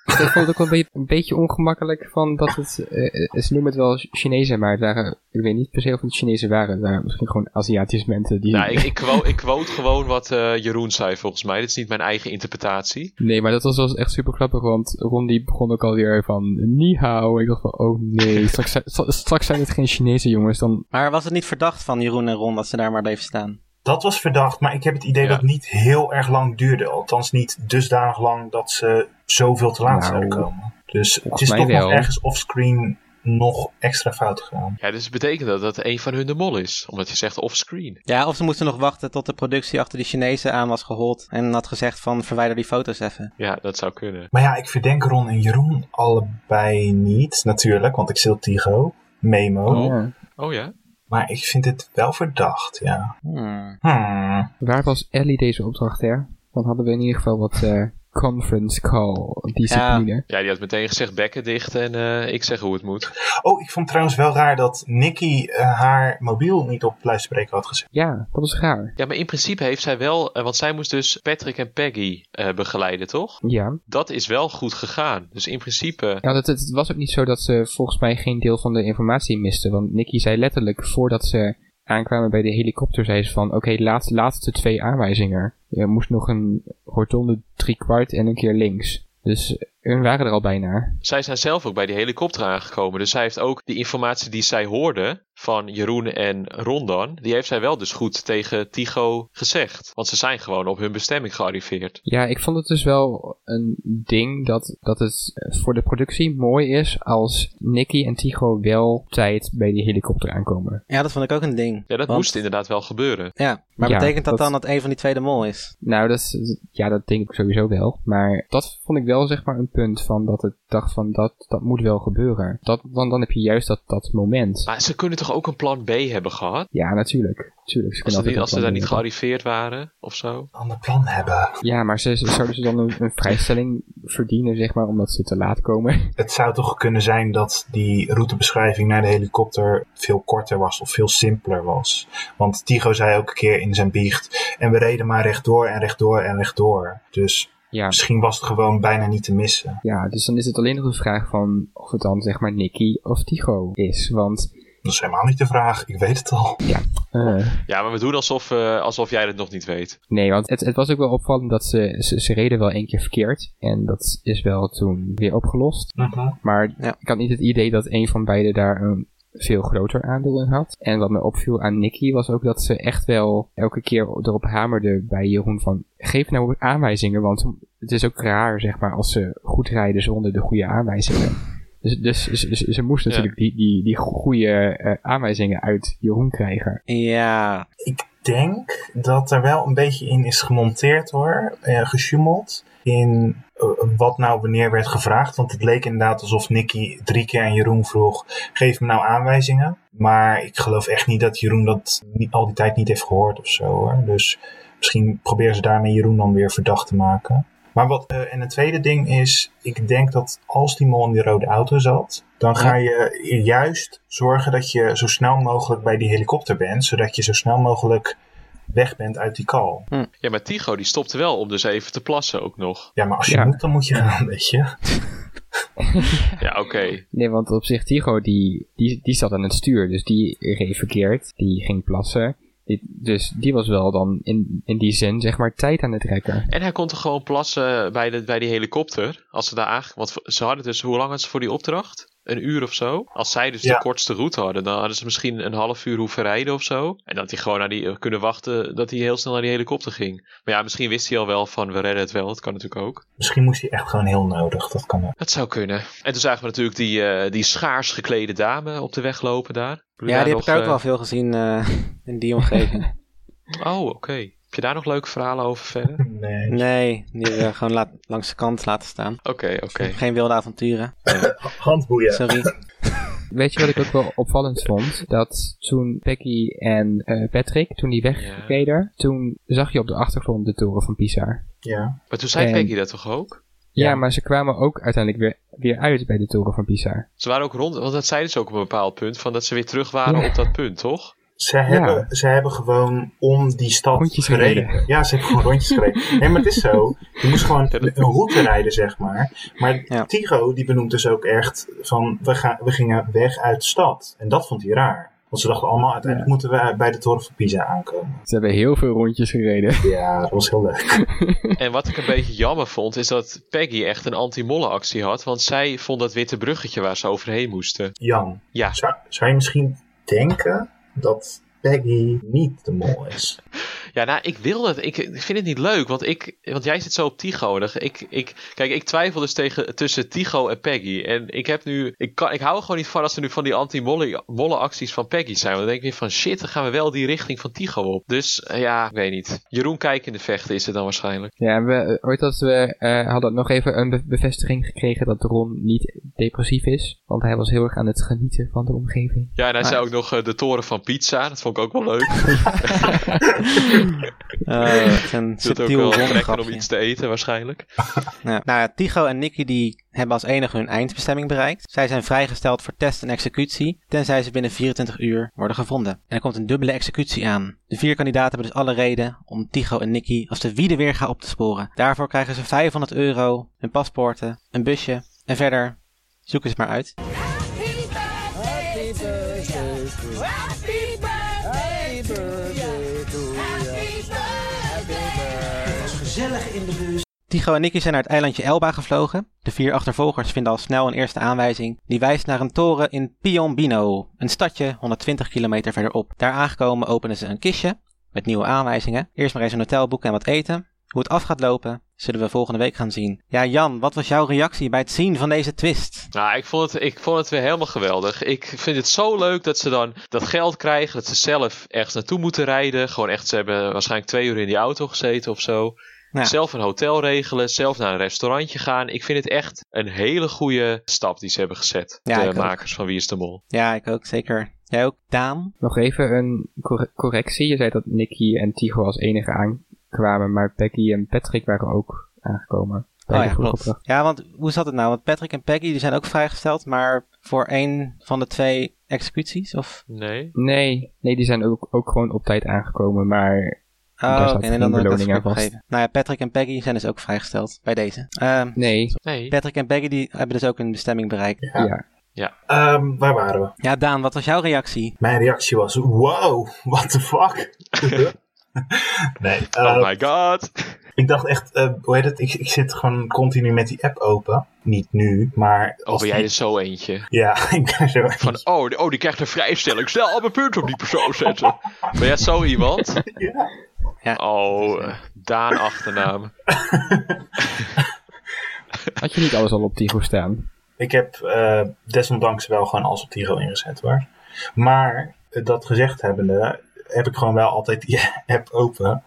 Ik vond het ook wel een, be- een beetje ongemakkelijk van dat het, eh, eh, ze noemen het wel Chinezen, maar het waren, ik weet niet per se of het Chinezen waren, het waren misschien gewoon Aziatische mensen die...
Nou, ik, ik, quo- ik quote gewoon wat eh, Jeroen zei volgens mij. Dit is niet mijn eigen interpretatie.
Nee, maar dat was, was echt super grappig, want Ron die begon ook alweer van ni hao. Ik dacht van, oh nee, straks, zijn- st- straks zijn het geen Chinezen jongens, dan...
Maar was het niet verdacht van Jeroen en Ron dat ze daar maar bleven staan?
Dat was verdacht, maar ik heb het idee
Ja.
dat het niet heel erg lang duurde. Althans, niet dusdanig lang dat ze zoveel te laat
Nou,
zouden komen. Dus het
volgens
is
mij
toch nog
wel.
ergens offscreen nog extra fout gegaan.
Ja, dus betekent dat dat een van hun de mol is. Omdat je zegt offscreen.
Ja, of ze moesten nog wachten tot de productie achter die Chinezen aan was gehold en had gezegd van verwijder die foto's even.
Ja, dat zou kunnen.
Maar ja, ik verdenk Ron en Jeroen allebei niet, natuurlijk, want ik zit Tigo, Memo.
Oh.
Ja.
Oh ja?
Maar ik vind het wel verdacht, ja.
Hmm.
Hmm.
Waar was Ellie deze opdracht, hè? Dan hadden we in ieder geval wat eh, conference call discipline.
Ja, die had meteen gezegd bekken dicht en eh, ik zeg hoe het moet.
Oh, ik vond trouwens wel raar dat Nicky eh, haar mobiel niet op luidspreker had gezet.
Ja, dat was raar.
Ja, maar in principe heeft zij wel... eh, want zij moest dus Patrick en Peggy eh, begeleiden, toch?
Ja.
Dat is wel goed gegaan. Dus in principe...
Ja, dat, het, het was ook niet zo dat ze volgens mij geen deel van de informatie misten. Want Nicky zei letterlijk, voordat ze aankwamen bij de helikopter, zei ze van... Oké, laatste, laatste twee aanwijzingen. Je moest nog een rotonde driekwart en een keer links. Dus hun waren er al bijna.
Zij zijn zelf ook bij die helikopter aangekomen. Dus zij heeft ook die informatie die zij hoorde van Jeroen en Rondan... die heeft zij wel dus goed tegen Tycho gezegd. Want ze zijn gewoon op hun bestemming gearriveerd.
Ja, ik vond het dus wel een ding dat, dat het eh, voor de productie mooi is als Nicky en Tigo wel op tijd bij die helikopter aankomen.
Ja, dat vond ik ook een ding.
Ja, dat
Want-
moest inderdaad wel gebeuren.
Ja, maar
Ja,
betekent dat,
dat-
dan dat een van die twee de mol is?
Nou, dat, is- ja, dat denk ik sowieso wel. Maar dat vond ik wel zeg maar een punt van dat ik dacht van dat, dat moet wel gebeuren. Dat, want dan heb je juist dat, dat moment.
Maar ze kunnen toch ook een plan B hebben gehad?
Ja, natuurlijk. natuurlijk ze
Als ze,
kunnen altijd
niet-
een
als ze
plan
daar niet
hebben.
gearriveerd waren of zo?
Ander plan hebben.
Ja, maar ze, ze- zouden ze dan een, een vrijstelling verdienen zeg maar omdat ze te laat komen?
Het zou toch kunnen zijn dat die routebeschrijving naar de helikopter veel korter was of veel simpeler was. Want Tigo zei ook een keer in zijn biecht, en we reden maar rechtdoor en rechtdoor en rechtdoor. Dus
ja.
misschien was het gewoon bijna niet te missen.
Ja, dus dan is het alleen nog een vraag van of het dan zeg maar Nicky of Tigo is. Want
Dat is helemaal niet de vraag, ik weet het al.
eh,
Ja, maar we doen alsof, eh, alsof jij dat nog niet weet.
nee, want het, het was ook wel opvallend dat ze, ze, ze reden wel één keer verkeerd. En dat is wel toen weer opgelost. Maar
Ja.
ik had niet het idee dat een van beiden daar een veel groter aandeel in had. En wat me opviel aan Nicky was ook dat ze echt wel elke keer erop hamerde bij Jeroen van... Geef nou aanwijzingen, want het is ook raar zeg maar als ze goed rijden zonder de goede aanwijzingen. Dus, dus ze- ze, ze moest
Ja.
natuurlijk die, die, die goede eh, aanwijzingen uit Jeroen krijgen.
Ja,
Ik denk dat er wel een beetje in is gemonteerd hoor, eh, gesjoemeld. In eh, wat nou wanneer werd gevraagd. Want het leek inderdaad alsof Nicky drie keer aan Jeroen vroeg: geef me nou aanwijzingen. Maar ik geloof echt niet dat Jeroen dat niet, al die tijd niet heeft gehoord of zo hoor. Dus misschien proberen ze daarmee Jeroen dan weer verdacht te maken. Maar wat, eh, en het tweede ding is, ik denk dat als die mol in die rode auto zat, dan ga je juist zorgen dat je zo snel mogelijk bij die helikopter bent, zodat je zo snel mogelijk weg bent uit die kal.
Ja, maar Tycho die stopte wel om dus even te plassen ook nog.
Ja, maar als je
Ja.
moet, dan moet je gaan, weet je.
Ja, oké.
Nee, want op zich Tigo die, die, die zat aan het stuur, dus die reed verkeerd, die ging plassen. Die- dus die was wel dan in, in die zin zeg maar tijd aan het rekken.
En hij kon toch gewoon plassen bij, de, bij die helikopter? Als ze daar aange... Want v- ze hadden dus... Hoe lang hadden ze voor die opdracht? Een uur of zo? Als zij dus
Ja.
de kortste route hadden, dan hadden ze misschien een half uur hoeven rijden of zo. En dat hij gewoon naar die, eh, kunnen wachten dat hij heel snel naar die helikopter ging. Maar ja, misschien wist hij al wel van we redden het wel. Dat kan natuurlijk ook.
Misschien moest hij echt gewoon heel nodig, dat kan ook.
Dat zou kunnen. En toen zagen we natuurlijk die, eh, die schaars geklede dame op de weg lopen daar. eh, Hebben
ja
jullie
die heb ik
daar
daar ook wel
nog,
veel gezien eh, in die omgeving.
eh, Oh, oké. je daar nog leuke verhalen over verder?
Nee.
Nee, die eh, gewoon laat, langs de kant laten staan.
Oké, oké.
Geen wilde avonturen.
Handboeien.
Sorry.
Weet je wat ik ook wel opvallend vond? Dat toen Becky en eh, Patrick, toen die wegreden, toen zag je op de achtergrond de toren van Pisa.
Ja.
Maar toen zei
En-
Peggy dat toch ook?
Ja,
Ja.
maar ze kwamen ook uiteindelijk weer, weer uit bij de toren van Pisa.
Ze waren ook rond, want dat zeiden ze ook op een bepaald punt, van dat ze weer terug waren
Ja.
op dat punt, toch?
Ze hebben, ze hebben gewoon om die stad
Rondjes
gereden.
gereden.
Ja, ze hebben gewoon rondjes gereden. Nee, maar het is zo. Je moest gewoon een route rijden, zeg maar. Maar
Ja.
Tigo, die benoemt dus ook echt van, we, gaan, we gingen weg uit de stad. En dat vond hij raar. Want ze dachten allemaal, uiteindelijk moeten we bij de toren van Pisa aankomen.
Ze hebben heel veel rondjes gereden.
Ja, dat was heel leuk.
En wat ik een beetje jammer vond, is dat Peggy echt een anti-molle actie had, want zij vond dat witte bruggetje waar ze overheen moesten.
Jan,
Ja.
zou, zou je misschien denken dat Peggy niet de mol is?
Ja, nou, ik wil dat. Ik, ik vind het niet leuk, want, ik, want jij zit zo op Tigo. En dan- Ik, ik, kijk, ik twijfel dus tegen, tussen Tigo en Peggy. En ik heb nu. Ik, kan, ik hou er gewoon niet van als er nu van die anti-molle acties van Peggy zijn. Want dan denk ik weer van shit, dan gaan we wel die richting van Tigo op. Dus eh, ja, ik weet niet. Jeroen kijken in de vechten is het dan waarschijnlijk.
Ja, en we, ooit als we eh, hadden nog even een be- bevestiging gekregen dat Ron niet depressief is. Want hij was heel erg aan het genieten van de omgeving.
Ja, en hij
Ah.
zei ook nog eh, de toren van pizza. Dat vond ik ook wel leuk.
Eh, het is een
Dat ook wel
subtiel
trekken om
rondgrapje.
iets te eten waarschijnlijk.
Ja. Nou, ja, Tycho en Nicky die hebben als enige hun eindbestemming bereikt. Zij zijn vrijgesteld voor test en executie, tenzij ze binnen 24 uur worden gevonden. En er komt een dubbele executie aan. De vier kandidaten hebben dus alle reden om Tycho en Nicky als de wiede weer gaan op te sporen. Daarvoor krijgen ze 500 euro, hun paspoorten, een busje en verder zoek eens maar uit. Tycho en Nicky zijn naar het eilandje Elba gevlogen. De vier achtervolgers vinden al snel een eerste aanwijzing. Die wijst naar een toren in Piombino, een stadje 120 kilometer verderop. Daar aangekomen openen ze een kistje met nieuwe aanwijzingen. Eerst maar eens een hotel boeken en wat eten. Hoe het af gaat lopen, zullen we volgende week gaan zien. Ja, Jan, wat was jouw reactie bij het zien van deze twist?
Nou, ik vond, het, ik vond het weer helemaal geweldig. Ik vind het zo leuk dat ze dan dat geld krijgen. Dat ze zelf ergens naartoe moeten rijden. Gewoon echt, ze hebben waarschijnlijk twee uur in die auto gezeten of zo.
Ja.
Zelf een hotel regelen, zelf naar een restaurantje gaan. Ik vind het echt een hele goede stap die ze hebben gezet.
Ja,
de
ik ook.
makers van Wie is de Mol.
Ja, ik ook zeker. Jij ook, Daan?
Nog even een corre- correctie. Je zei dat Nicky en Tigo als enige aankwamen, maar Becky en Patrick waren ook aangekomen. Bij
Oh
de
ja,
vroege
klopt.
opdracht.
Ja, want hoe zat het nou? Want Patrick en Peggy die zijn ook vrijgesteld, maar voor één van de twee executies? Of...
Nee?
Nee, nee, die zijn ook, ook gewoon op tijd aangekomen, maar Daar
Oh,
staat
oké,
geen
en dan had ik dat
beloning aan vast.
opgegeven. Nou ja, Patrick en Peggy zijn dus ook vrijgesteld bij deze. Ehm,
nee.
Nee.
Patrick en Peggy die hebben dus ook hun bestemming bereikt.
Ja.
Ja. Ehm, waar waren we?
Ja, Daan, wat was jouw reactie?
Mijn reactie was, wow, what the fuck? nee, eh,
Oh my god.
ik dacht echt, eh, hoe heet het, ik, ik zit gewoon continu met die app open. Niet nu, maar...
Oh, ben jij
die-
er zo eentje.
Ja, ik ben zo...
Van, oh, die, oh, die krijgt een vrijstelling. Snel al mijn punten op die persoon zetten. Ben jij zo iemand?
Ja.
Ja.
Oh, eh, Daan achternaam.
Had je niet alles al op Tigo staan?
Ik heb eh, desondanks wel gewoon als op Tiro ingezet hoor. Maar eh, dat gezegd hebbende, heb ik gewoon wel altijd die app open.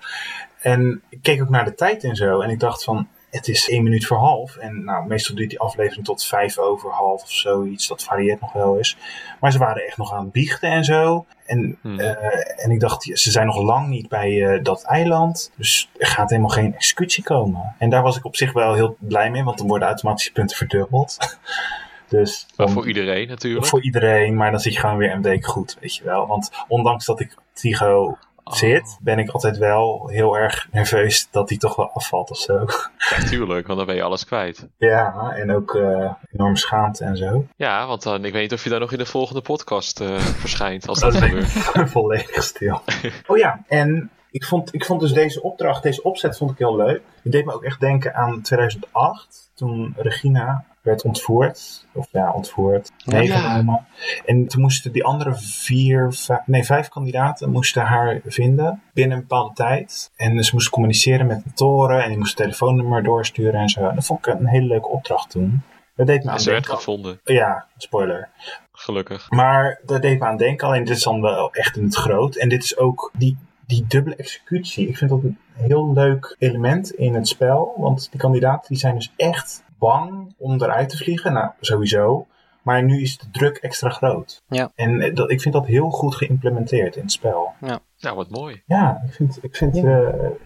En ik keek ook naar de tijd en zo. En ik dacht van, het is één minuut voor half. En nou, meestal duurt die aflevering tot vijf over half of zoiets. Dat varieert nog wel eens. Maar ze waren echt nog aan het biechten en zo. En,
Hmm.
eh, en ik dacht, ze zijn nog lang niet bij eh, dat eiland. Dus er gaat helemaal geen executie komen. En daar was ik op zich wel heel blij mee. Want dan worden automatische punten verdubbeld. dus
Maar
dan-
voor iedereen natuurlijk.
voor iedereen, maar dan zit je gewoon weer een week goed, weet je wel. Want ondanks dat ik op Tigo
Oh.
zit, ben ik altijd wel heel erg nerveus dat die toch wel afvalt of zo.
Ja, tuurlijk, want dan ben je alles kwijt.
Ja, en ook eh, enorm schaamte en zo.
Ja, want dan, ik weet niet of je dan nog in de volgende podcast eh, verschijnt als dat
Dat weet ik.
gebeurt.
Volledig stil. Oh ja, en ik vond, ik vond dus deze opdracht, deze opzet vond ik heel leuk. Het deed me ook echt denken aan 2008, toen Regina werd ontvoerd. Of ja, ontvoerd. Meegenomen. En toen moesten die andere vier, vijf, nee, vijf kandidaten moesten haar vinden binnen een bepaalde tijd. En ze moesten communiceren met een toren en die moest het telefoonnummer doorsturen en zo. En dat vond ik een hele leuke opdracht toen. Dat deed me aan
En ze werd
denken.
gevonden,
Ja, spoiler.
gelukkig.
Maar dat deed me aan denken, alleen dit is dan wel echt in het groot. En dit is ook die, die dubbele executie. Ik vind dat een heel leuk element in het spel. Want die kandidaten die zijn dus echt bang om eruit te vliegen. Nou, sowieso. Maar nu is de druk extra groot.
Ja.
En eh, dat, ik vind dat heel goed geïmplementeerd in het spel.
Nou, wat mooi.
Ja, ik vind, ik, vind, eh,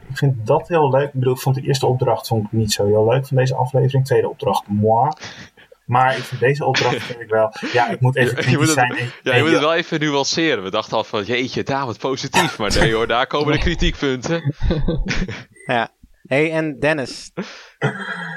ik vind dat heel leuk. Ik bedoel, ik vond de eerste opdracht vond ik niet zo heel leuk van deze aflevering. Tweede opdracht, moi. Maar ik vind deze opdracht vind ik wel... Ja, ik moet even
Ja, je moet
kritisch
het-
zijn.
Ja,
Nee,
je moet
ja,
het wel even nuanceren. We dachten al van, jeetje, daar wat positief. Maar nee hoor, daar komen de kritiekpunten.
hey, en Dennis.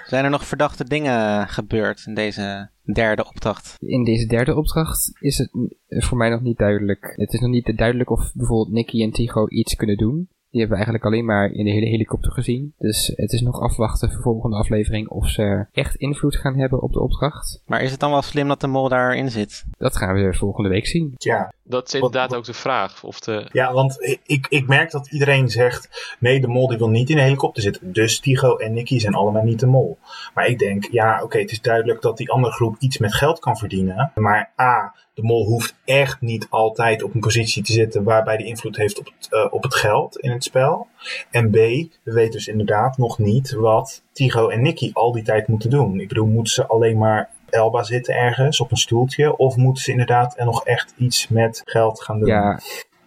zijn er nog verdachte dingen gebeurd in deze derde opdracht?
In deze derde opdracht is het eh, voor mij nog niet duidelijk. Het is nog niet duidelijk of bijvoorbeeld Nicky en Tigo iets kunnen doen. Die hebben we eigenlijk alleen maar in de hele helikopter gezien. Dus het is nog afwachten voor de volgende aflevering of ze echt invloed gaan hebben op de opdracht.
Maar is het dan wel slim dat de mol daarin zit?
Dat gaan we volgende week zien.
ja.
Dat is inderdaad ook de vraag. Of de...
ja, want i- ik, ik merk dat iedereen zegt... Nee, de mol die wil niet in de helikopter zitten. Dus Tigo en Nicky zijn allemaal niet de mol. Maar ik denk, ja, oké, het is duidelijk dat die andere groep iets met geld kan verdienen. Maar A, de mol hoeft echt niet altijd op een positie te zitten... waarbij die invloed heeft op het, eh, op het geld in het spel. En B, we weten dus inderdaad nog niet wat Tigo en Nicky al die tijd moeten doen. Ik bedoel, moeten ze alleen maar Elba zitten ergens op een stoeltje? Of moeten ze inderdaad er nog echt iets met geld gaan doen?
Ja,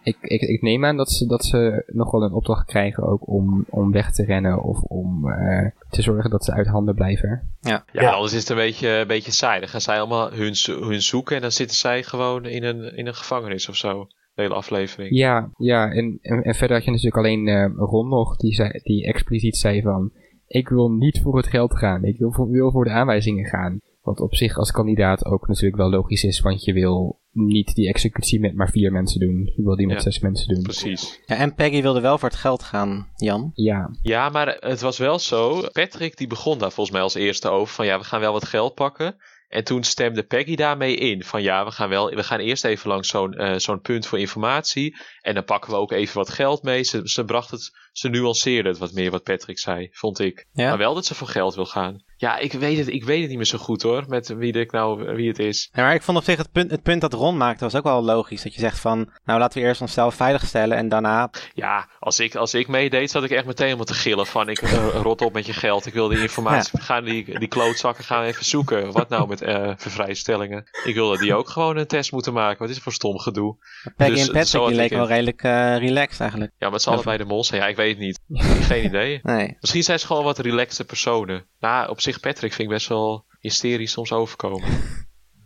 ik, ik, ik neem aan dat ze, dat ze nog wel een opdracht krijgen ook om, om weg te rennen of om eh, te zorgen dat ze uit handen blijven.
Ja,
Ja.
anders is het een beetje, een beetje saai. Dan gaan zij allemaal hun, zo- hun zoeken en dan zitten zij gewoon in een, in een gevangenis of zo. De hele aflevering.
Ja, ja en, en, en verder had je natuurlijk alleen eh, Ron nog die, zei, die expliciet zei van ik wil niet voor het geld gaan, ik wil voor, wil voor de aanwijzingen gaan. Wat op zich als kandidaat ook natuurlijk wel logisch is, want je wil niet die executie met maar vier mensen doen. Je wil die met
Ja.
zes mensen doen.
Precies.
Ja, en Peggy wilde wel voor het geld gaan, Jan.
Ja,
Ja, maar het was wel zo. Patrick die begon daar volgens mij als eerste over van ja, we gaan wel wat geld pakken. En toen stemde Peggy daarmee in van ja, we gaan, wel, we gaan eerst even langs zo'n eh, zo'n punt voor informatie. En dan pakken we ook even wat geld mee. Ze, ze bracht het, ze nuanceerde het wat meer wat Patrick zei, vond ik.
Ja.
Maar wel dat ze voor geld wil gaan. Ja, ik weet het, ik weet het niet meer zo goed hoor, met wie, ik nou, wie het is.
Ja, maar ik vond op zich het punt, het punt dat Ron maakte was ook wel logisch. Dat je zegt van, nou laten we eerst onszelf veiligstellen en daarna...
Ja, als ik, als ik meedeed zat ik echt meteen helemaal te gillen van ik eh, rot op met je geld. Ik wil die informatie, we gaan die, die klootzakken gaan even zoeken. Wat nou met eh vervrijstellingen? Ik wil dat die ook gewoon een test moeten maken. Wat is het voor stom gedoe?
Peggy
Dus
en
het- zo
Patrick
had
die
ik
leken wel
het.
redelijk eh, relaxed eigenlijk.
Ja, maar het zal allebei de mol zijn. Ja, ik weet het niet. Geen idee.
Nee.
Misschien zijn ze gewoon wat relaxte personen. Nou, op zich Patrick vind ik best wel hysterisch soms overkomen.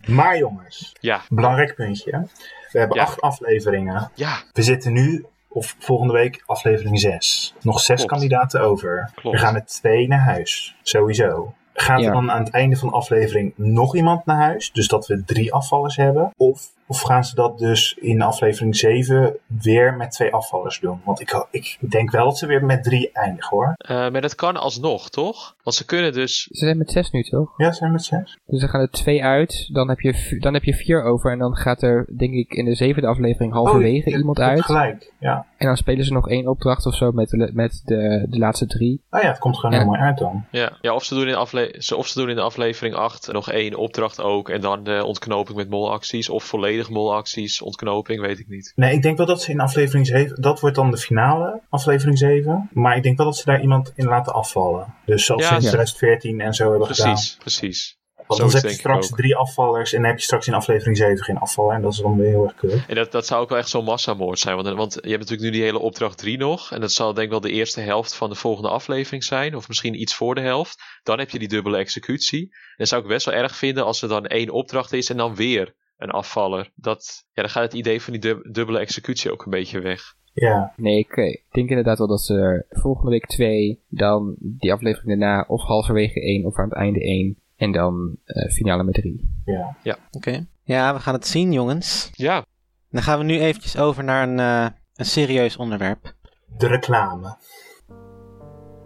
Maar jongens,
Ja,
belangrijk puntje. We hebben
Ja.
acht afleveringen.
ja,
We zitten nu, of volgende week, aflevering zes. Nog zes
Klopt.
kandidaten over.
Klopt.
We gaan met twee naar huis. Sowieso. Gaat
Ja.
er dan aan het einde van de aflevering nog iemand naar huis? Dus dat we drie afvallers hebben? Of, of gaan ze dat dus in aflevering 7 weer met twee afvallers doen? Want ik, ik denk wel dat ze weer met drie eindigen hoor.
Eh, maar dat kan alsnog, toch? Want ze kunnen dus...
ze zijn met zes nu toch?
Ja, zijn we met zes?
Dus dan gaan er twee uit, dan heb, je, v- dan heb je vier over en dan gaat er, denk ik, in de zevende aflevering halverwege
Oh, je-
iemand
je hebt
uit.
Gelijk, ja.
En dan spelen ze nog één opdracht of zo met de, met de, de laatste drie.
Nou ja, het komt gewoon
Ja.
heel mooi uit dan.
Ja, ja of, ze doen in afle- ze- of ze doen in de aflevering 8 nog één opdracht ook. En dan eh, ontknoping met molacties. Of volledig molacties. Ontknoping, weet ik niet.
Nee, ik denk wel dat ze in aflevering 7, dat wordt dan de finale, aflevering 7. Maar ik denk wel dat ze daar iemand in laten afvallen. Dus zoals
Ja,
ze in
ja.
2014 en zo hebben gedaan.
Precies, precies.
Want
Zoiets
dan heb je
denk ik
straks
ook.
drie afvallers en dan heb je straks in aflevering 7 geen afval. En dat is dan weer heel erg kut.
En dat, dat zou ook wel echt zo'n massamoord zijn. Want, want je hebt natuurlijk nu die hele opdracht 3 nog. En dat zal denk ik wel de eerste helft van de volgende aflevering zijn. Of misschien iets voor de helft. Dan heb je die dubbele executie. En dat zou ik best wel erg vinden als er dan één opdracht is en dan weer een afvaller. Dat, ja, dan gaat het idee van die dub- dubbele executie ook een beetje weg.
Ja,
Nee, ik eh, denk inderdaad wel dat ze er volgende week twee, dan die aflevering daarna of halverwege één of aan het einde één. En dan eh, finale met drie.
ja.
Oké. Ja, we gaan het zien jongens.
Ja,
Dan gaan we nu eventjes over naar een, eh, een serieus onderwerp.
De reclame.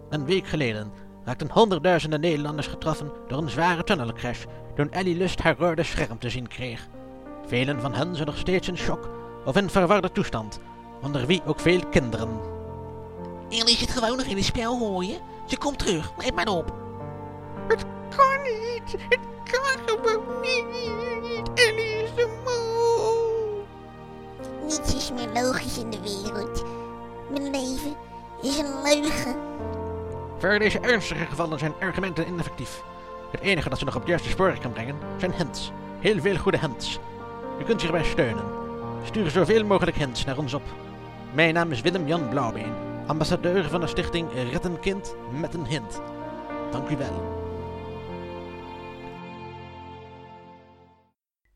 Een week geleden raakten honderdduizenden Nederlanders getroffen door een zware tunnelcrash toen Ellie Lust haar rode scherm te zien kreeg. Velen van hen zijn nog steeds in shock of in verwarde toestand, onder wie ook veel kinderen. Ellie zit gewoon nog in het spel, hoor je? Ze komt terug, let maar op. Het kan niet, het kan gewoon niet. Ellie is de moe.
Niets is meer logisch in de wereld. Mijn leven is een leugen.
Voor deze ernstige gevallen zijn argumenten ineffectief. Het enige dat ze nog op het juiste spoor kan brengen zijn hints. Heel veel goede hints. U kunt zich erbij steunen. Stuur zoveel mogelijk hints naar ons op. Mijn naam is Willem-Jan Blauwbeen, ambassadeur van de stichting Red een Kind met een Hint. Dank u wel.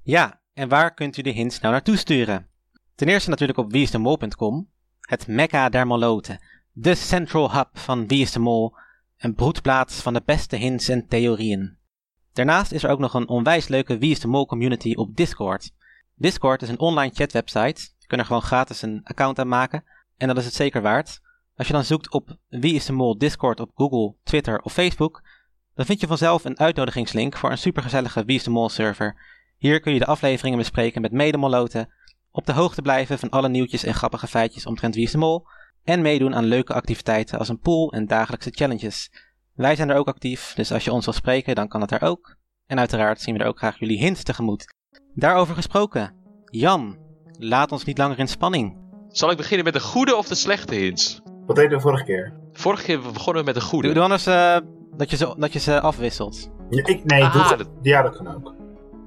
Ja, en waar kunt u de hints nou naartoe sturen? Ten eerste natuurlijk op wieisdemol.com, het mekka der moloten, de central hub van Wie is de Mol, een broedplaats van de beste hints en theorieën. Daarnaast is er ook nog een onwijs leuke Wie is de Mol community op Discord. Discord is een online chatwebsite, je kunt er gewoon gratis een account aan maken en dat is het zeker waard. Als je dan zoekt op Wie is de Mol Discord op Google, Twitter of Facebook, dan vind je vanzelf een uitnodigingslink voor een supergezellige Wie is de Mol server. Hier kun je de afleveringen bespreken met medemoloten, op de hoogte blijven van alle nieuwtjes en grappige feitjes omtrent Wie is de Mol en meedoen aan leuke activiteiten als een pool en dagelijkse challenges. Wij zijn er ook actief, dus als je ons wil spreken, dan kan dat daar ook. En uiteraard zien we er ook graag jullie hints tegemoet. Daarover gesproken, Jan, laat ons niet langer in spanning.
Zal ik beginnen met de goede of de slechte hints?
Wat deden we vorige keer?
Vorige keer begonnen we met de goede.
Doe, doe anders eh, dat, je ze, dat je ze afwisselt.
Ja, ik, nee,
Ah,
doe-
dat-
ja, dat kan ook.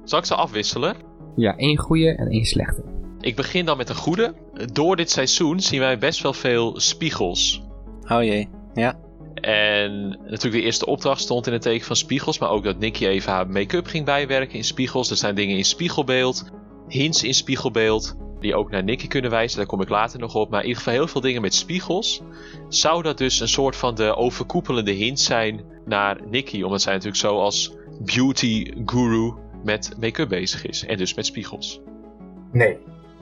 Zal ik ze afwisselen?
Ja, één goede en één slechte.
Ik begin dan met een goede. Door dit seizoen zien wij best wel veel spiegels.
Oh jee, ja.
En natuurlijk de eerste opdracht stond in het teken van spiegels. Maar ook dat Nikki even haar make-up ging bijwerken in spiegels. Er zijn dingen in spiegelbeeld. Hints in spiegelbeeld. Die ook naar Nikki kunnen wijzen. Daar kom ik later nog op. Maar in ieder geval heel veel dingen met spiegels. Zou dat dus een soort van de overkoepelende hint zijn naar Nikki. Omdat zij natuurlijk zo als beauty guru met make-up bezig is. En dus met spiegels.
Nee.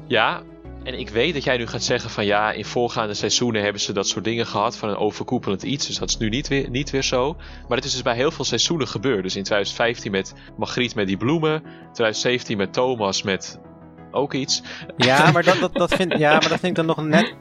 Ja, en ik weet dat jij nu gaat zeggen van ja, in voorgaande seizoenen hebben ze dat soort dingen gehad van een overkoepelend iets. Dus dat is nu niet weer, niet weer zo. Maar het is dus bij heel veel seizoenen gebeurd. Dus in 2015 met Margriet met die bloemen. 2017 met Thomas met ook iets.
Ja, maar dat, dat, dat vind, ja, maar dat vind ik dan nog net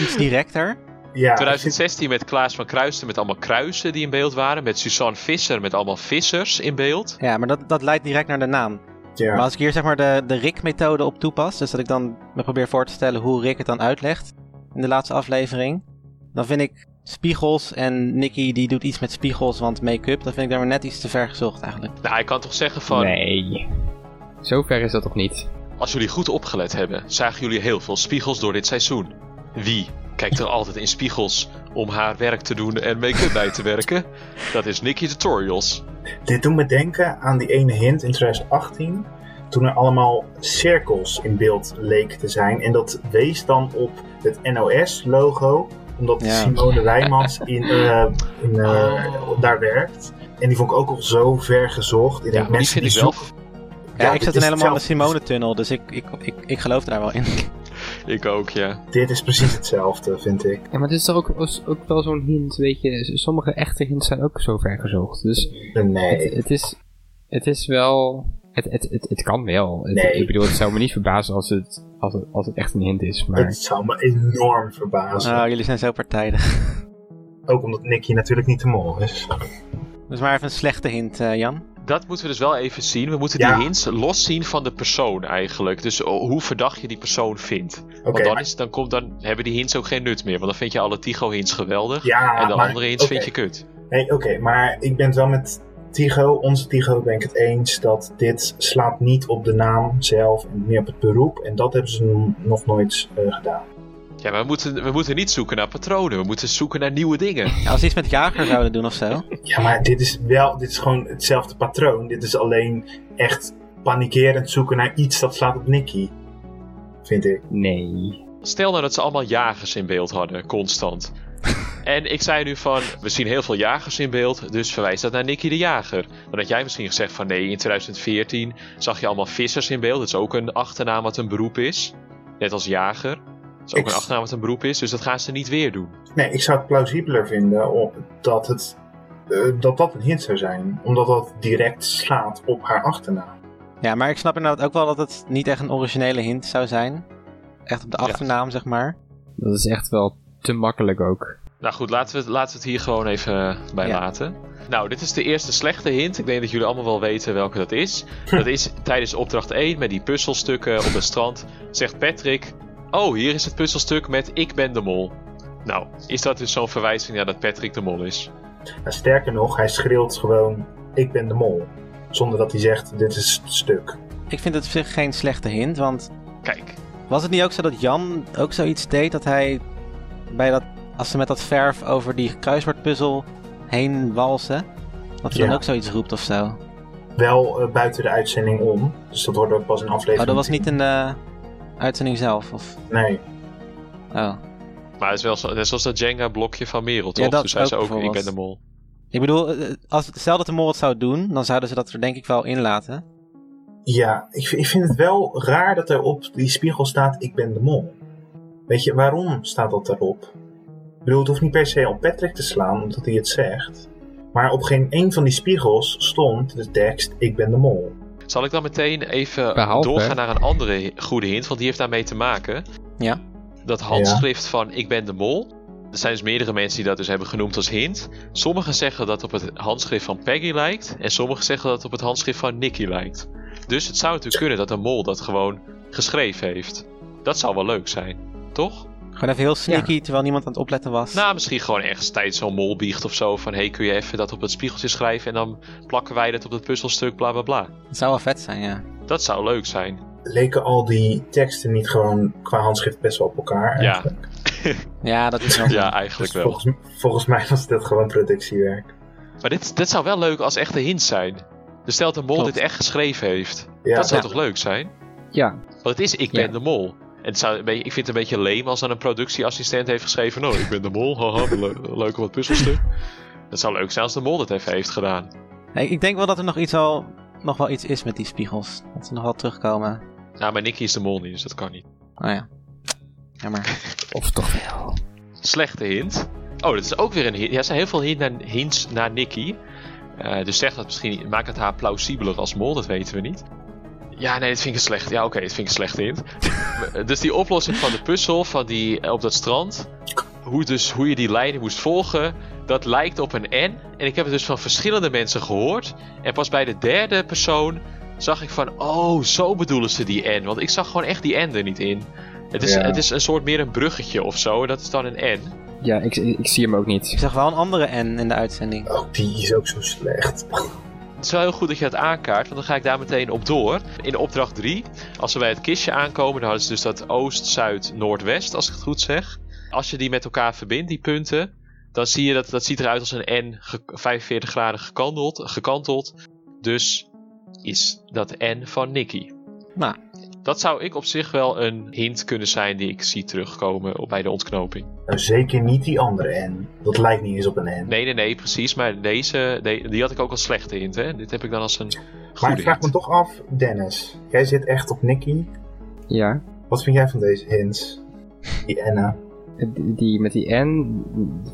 iets directer.
Ja,
2016 met Klaas van Kruisten met allemaal kruisen die in beeld waren. Met Suzanne Visser met allemaal vissers in beeld.
Ja, maar dat, dat leidt direct naar de naam.
ja.
Maar als ik hier zeg maar de, de Rick-methode op toepas, dus dat ik dan me probeer voor te stellen hoe Rick het dan uitlegt in de laatste aflevering, dan vind ik spiegels en Nicky die doet iets met spiegels, want make-up, dat vind ik daar maar net iets te ver gezocht eigenlijk.
Nou, ik kan toch zeggen van
Nee. Zover is dat toch niet?
als jullie goed opgelet hebben, zagen jullie heel veel spiegels door dit seizoen. Wie kijkt er altijd in spiegels om haar werk te doen en make-up bij te werken? Dat is Nikki Tutorials.
Dit doet me denken aan die ene hint in 2018. Toen er allemaal cirkels in beeld leken te zijn. En dat wees dan op het NOS-logo. Omdat
Ja.
Simone Wijmans in, eh, in, eh, daar werkt. En die vond ik ook al zo ver gezocht.
Oh.
Ik
Ja,
denk,
maar die
mensen
vind ik
die
wel.
zoeken-
Ja, ik
dit
zat
is
in helemaal de
hetzelfde.
Simone-tunnel, dus ik, ik, ik, ik geloof daar wel in.
Ik ook, ja.
Dit is precies hetzelfde, vind ik.
Ja, maar het is toch ook, is ook wel zo'n hint, weet je. s- Sommige echte hints zijn ook zo ver gezocht. Dus het,
Nee.
het is, het is wel... Het, het, het, het kan wel. Het-
Nee.
Ik bedoel, het zou me niet verbazen als het, als het, als het echt een hint is. Maar
Het zou me enorm verbazen.
Oh, jullie zijn zo partijdig.
Ook omdat Nicky natuurlijk niet de mol is.
Dus maar even een slechte hint, eh, Jan.
Dat moeten we dus wel even zien. We moeten
Ja.
die hints los zien van de persoon eigenlijk. Dus o- hoe verdacht je die persoon vindt.
Oké,
want dan,
maar-
is, dan, komt, dan hebben die hints ook geen nut meer. Want dan vind je alle Tigo-hints geweldig.
ja,
en de
maar-
andere hints
oké.
vind je kut.
Nee, oké, maar ik ben het wel met Tigo, onze Tigo, ben ik het eens dat dit slaat niet op de naam zelf en meer op het beroep. En dat hebben ze n- nog nooit eh, gedaan.
Ja, maar we moeten, we moeten niet zoeken naar patronen. We moeten zoeken naar nieuwe dingen.
Ja, als ze iets met jager zouden doen of zo.
Ja, maar dit is wel, dit is gewoon hetzelfde patroon. Dit is alleen echt panikerend zoeken naar iets dat slaat op Nicky. Vind ik.
nee.
Stel nou dat ze allemaal jagers in beeld hadden, constant. En ik zei nu van, we zien heel veel jagers in beeld, dus verwijs dat naar Nicky de Jager. Dan had jij misschien gezegd van nee, in 2014 zag je allemaal vissers in beeld. Dat is ook een achternaam wat een beroep is. Net als jager. Dat is ook
Ik-
een achternaam wat een beroep is, dus dat gaan ze niet weer doen.
Nee, ik zou het plausibeler vinden om- dat, het, eh, dat dat een hint zou zijn. Omdat dat direct slaat op haar achternaam.
Ja, maar ik snap inderdaad ook wel dat het niet echt een originele hint zou zijn. Echt op de
Ja.
achternaam, zeg maar.
Dat is echt wel te makkelijk ook.
Nou goed, laten we, het- laten we het hier gewoon even eh, bij
Ja.
laten. Nou, dit is de eerste slechte hint. Ik denk dat jullie allemaal wel weten welke dat is. Dat is tijdens opdracht 1 met die puzzelstukken op het strand. Zegt Patrick: Oh, hier is het puzzelstuk met Ik ben de mol. Nou, is dat dus zo'n verwijzing naar dat Patrick de mol is?
En sterker nog, hij schreeuwt gewoon: Ik ben de mol. Zonder dat hij zegt: Dit is het stuk.
Ik vind het op zich geen slechte hint, want
Kijk,
was het niet ook zo dat Jan ook zoiets deed dat hij bij dat, als ze met dat verf over die kruiswoordpuzzel heen walsen, dat hij
Ja.
dan ook zoiets roept of zo?
Wel eh, buiten de uitzending om. Dus dat wordt ook pas een aflevering.
Oh, dat was niet in de uitzending zelf, of?
Nee.
Oh.
maar het is wel zo, net zoals dat Jenga-blokje van Merel,
Ja,
toch?
dat
Toen zei ze
ook
ook Ik ben
bijvoorbeeld.
de mol.
Ik bedoel, eh, als, stel dat de mol het zou doen, dan zouden ze dat er denk ik wel in laten.
Ja, ik, v- ik vind het wel raar dat er op die spiegel staat: Ik ben de mol. Weet je, waarom staat dat daarop? Ik bedoel, het hoeft niet per se op Patrick te slaan omdat hij het zegt. Maar op geen één van die spiegels stond de tekst: Ik ben de mol.
Zal ik dan meteen even
Behalve-
doorgaan naar een andere hi- goede hint, want die heeft daarmee te maken.
Ja.
Dat handschrift van Ik ben de mol. Er zijn dus meerdere mensen die dat dus hebben genoemd als hint. Sommigen zeggen dat het op het handschrift van Peggy lijkt. En sommigen zeggen dat het op het handschrift van Nicky lijkt. Dus het zou natuurlijk kunnen dat de mol dat gewoon geschreven heeft. Dat zou wel leuk zijn, toch?
Gewoon even heel sneaky, terwijl niemand aan het opletten was.
Nou, misschien gewoon ergens tijdens zo'n mol biecht of zo. Van hey, kun je even dat op het spiegeltje schrijven en dan plakken wij dat op het puzzelstuk, bla bla bla.
Het zou wel vet zijn, ja.
Dat zou leuk zijn.
Leken al die teksten niet gewoon qua handschrift best wel op elkaar?
Ja.
eigenlijk?
Ja, dat is wel.
Ja, eigenlijk
Dus
wel.
volgens, volgens mij was dit gewoon productiewerk.
Maar dit, dit zou wel leuk als echte hint zijn. Dus stel dat de mol
Klopt.
dit echt geschreven heeft.
Ja.
Dat zou
Ja.
toch leuk zijn?
Ja,
Want het is Ik
Ja.
ben de mol. En het zou, een beetje- ik vind het een beetje leem als dan een productieassistent heeft geschreven... Oh, ik ben de mol, haha, le- leuk om wat puzzelstuk. Dat zou leuk zijn als de mol dat even heeft gedaan.
Hey, Ik denk wel dat er nog iets, al, nog wel iets is met die spiegels. Dat ze nog wel terugkomen.
Nou, maar Nicky is de mol niet, dus dat kan niet.
Oh ja. Jammer.
of toch wel.
Slechte hint. Oh, dat is ook weer een hint. Ja, er zijn heel veel hint naar, hints naar Nicky. Eh, dus zeg dat misschien, maak het haar plausibeler als mol, dat weten we niet. Ja, nee, dat vind ik een slecht. Ja, oké, dat vind ik een slechte hint. Maar, dus die oplossing van de puzzel van die, eh, op dat strand. Hoe, dus, hoe je die leiding moest volgen. Dat lijkt op een N. En ik heb het dus van verschillende mensen gehoord. En pas bij de derde persoon zag ik van... Oh, zo bedoelen ze die N. Want ik zag gewoon echt die N er niet in. Het is,
Ja.
het is een soort meer een bruggetje of zo. En dat is dan een N.
Ja, ik, ik zie hem ook
Ik
niet.
zag wel een andere N in de uitzending.
Oh, die is ook zo slecht.
Het is wel heel goed dat je dat aankaart, want dan ga ik daar meteen op door. In opdracht 3, als we bij het kistje aankomen, dan hadden ze dus dat oost, zuid, noordwest, als ik het goed zeg. Als je die met elkaar verbindt, die punten, dan zie je dat dat ziet eruit als een N ge- 45 graden gekanteld. gekanteld. Dus is dat N van Nicky.
Nou.
Dat zou ik op zich wel een hint kunnen zijn die ik zie terugkomen op- bij de ontknoping.
Nou, zeker niet die andere N. Dat lijkt niet eens op een N.
Nee, nee, nee, precies. Maar deze, de- die had ik ook als slechte hint. Hè? Dit heb ik dan als een
maar
goede
ik vraag
hint.
me toch af, Dennis. Jij zit echt op Nicky.
Ja,
Wat vind jij van deze hints? Die N'en.
die, die met die N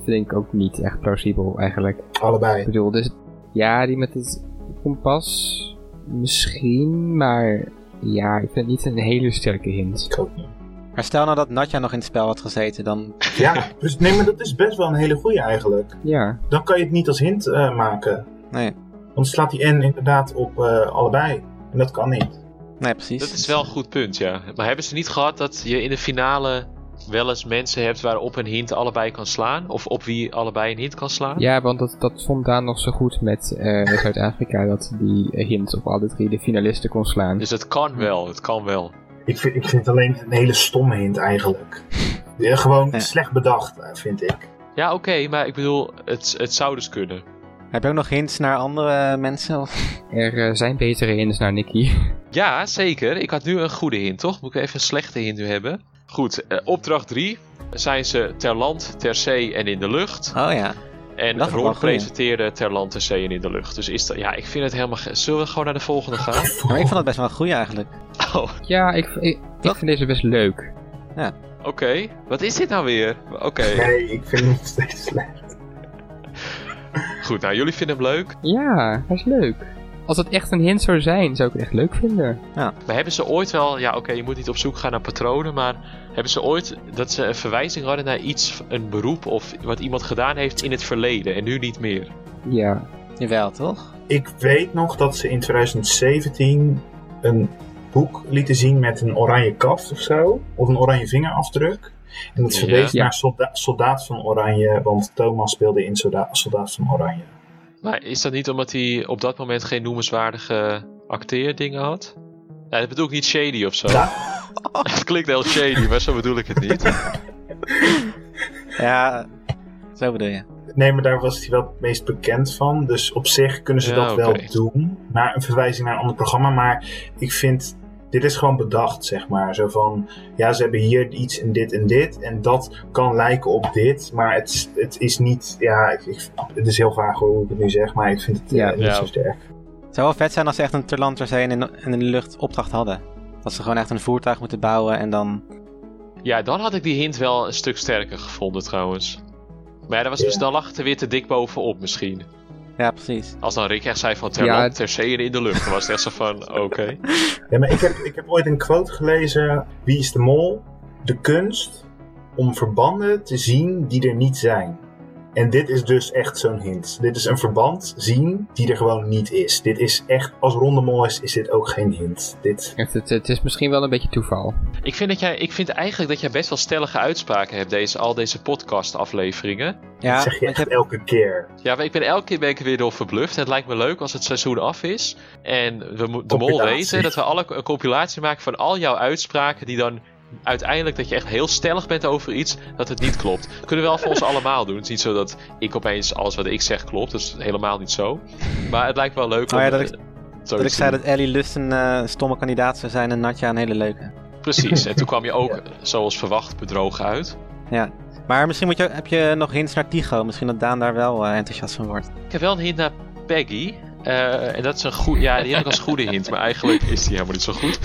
vind ik ook niet echt plausibel eigenlijk. Ik
Allebei.
bedoel, dus ja, die met het kompas misschien, maar ja, ik vind het niet een hele sterke hint.
Ik ook niet.
Maar stel nou dat Natja nog in het spel had gezeten, dan...
Ja, dus nee, maar dat is best wel een hele goeie eigenlijk.
Ja,
Dan kan je het niet als hint eh, maken.
Nee,
Want slaat die N inderdaad op eh, allebei. En dat kan niet.
nee precies.
Dat is wel een goed punt, ja. Maar hebben ze niet gehad dat je in de finale wel eens mensen hebt waarop een hint allebei kan slaan? Of op wie allebei een hint kan slaan?
ja want dat, dat vond Daan nog zo goed met eh, Zuid-Afrika, dat die hint op alle drie de finalisten kon slaan.
Dus het kan wel, het kan wel.
Ik vind, ik vind het alleen een hele stomme hint eigenlijk. Ja, gewoon
Ja.
slecht bedacht, eh, vind ik.
Ja, oké, maar ik bedoel, het, het zou dus kunnen.
Heb je ook nog hints naar andere eh, mensen? Of...
Er eh, zijn betere hints naar Nicky.
Ja, zeker. Ik had nu een goede hint, toch? Moet ik even een slechte hint nu hebben? Goed, eh, opdracht 3. Zijn ze ter land, ter zee en in de lucht?
Oh ja.
En
dat is wel
Ron
een goeie.
presenteerde ter land, ter zee en in de lucht. Dus is dat... Ja, ik vind het helemaal... ge- Zullen we gewoon naar de volgende gaan?
Ja, Maar ik vond het best wel een goeie eigenlijk.
Oh,
Ja, ik, ik, ik vind deze best leuk.
oké. Wat is dit nou weer? Oké.
Nee, ik vind het nog steeds slecht.
Goed, nou jullie vinden hem leuk.
Ja, hij is leuk. Als het echt een hint zou zijn, zou ik het echt leuk vinden.
Maar hebben ze ooit wel, ja oké, je moet niet op zoek gaan naar patronen, maar hebben ze ooit dat ze een verwijzing hadden naar iets, een beroep of wat iemand gedaan heeft in het verleden en nu niet meer?
Ja.
Jawel, toch?
Ik weet nog dat ze in 2017 een boek lieten zien met een oranje kaft of zo. Of een oranje vingerafdruk. En dat verwees
Ja.
naar solda- Soldaat van Oranje, want Thomas speelde in solda- Soldaat van Oranje.
Maar is dat niet omdat hij op dat moment geen noemenswaardige acteerdingen had? Ja, dat bedoel ik niet shady of zo. Het klinkt heel shady, maar zo bedoel ik het niet.
Ja, zo bedoel je.
Nee, maar daar was hij wel het meest bekend van. Dus op zich kunnen ze
Ja,
dat
oké.
wel doen. Naar een verwijzing naar een ander programma. Maar ik vind, dit is gewoon bedacht, zeg maar. Zo van, ja, ze hebben hier iets en dit en dit. En dat kan lijken op dit. Maar het, is- het is niet, ja, ik, ik- het is heel vaag hoe ik het nu zeg. Maar ik vind het eh,
Ja.
niet
Ja.
zo sterk.
Het zou wel vet zijn als ze echt een Terlanter zijn en in, de lucht opdracht hadden. Dat ze gewoon echt een voertuig moeten bouwen en dan...
Ja, dan had ik die hint wel een stuk sterker gevonden trouwens. Maar ja, dat was dus, dan lag het er weer te dik bovenop misschien.
Ja, precies.
Als dan Rick echt zei van
Ja,
ter,
het-
ter zee en in de lucht, dan was het echt zo van oké.
Ja, maar ik heb, ik heb ooit een quote gelezen. Wie is de mol? De kunst om verbanden te zien die er niet zijn. En dit is dus echt zo'n hint. Dit is een verband zien die er gewoon niet is. Dit is echt, als ronde mol is, is dit ook geen hint. Dit,
Het, het, het is misschien wel een beetje toeval.
Ik vind, dat jij, ik vind eigenlijk dat jij best wel stellige uitspraken hebt, deze, al deze podcast-afleveringen.
Ja,
dit zeg je
want
echt
je hebt-
elke keer.
Ja, maar ik ben elke keer ben ik er weer door verbluft. En het lijkt me leuk als het seizoen af is. En we, mo- de mol
Compilatie.
weten dat we alle een compilatie maken van al jouw uitspraken. Die dan uiteindelijk dat je echt heel stellig bent over iets. Dat het niet klopt. Kunnen we wel voor ons allemaal doen. Het is niet zo dat ik opeens alles wat ik zeg klopt. Dat is helemaal niet zo. Maar het lijkt me wel leuk
Oh ja,
om,
dat
eh,
ik-
zoiets
dat ik
te
zei
doen.
dat Ellie Lust een eh, stomme kandidaat zou zijn en Natja een hele leuke.
Precies. En toen kwam je ook, zoals verwacht, bedrogen uit.
Maar misschien moet je, heb je nog hints naar Tigo. Misschien dat Daan daar wel eh, enthousiast van wordt.
Ik heb wel een hint naar Peggy. Eh, en dat is een goed. Ja, die heb ik als goede hint, maar eigenlijk is die helemaal niet zo goed.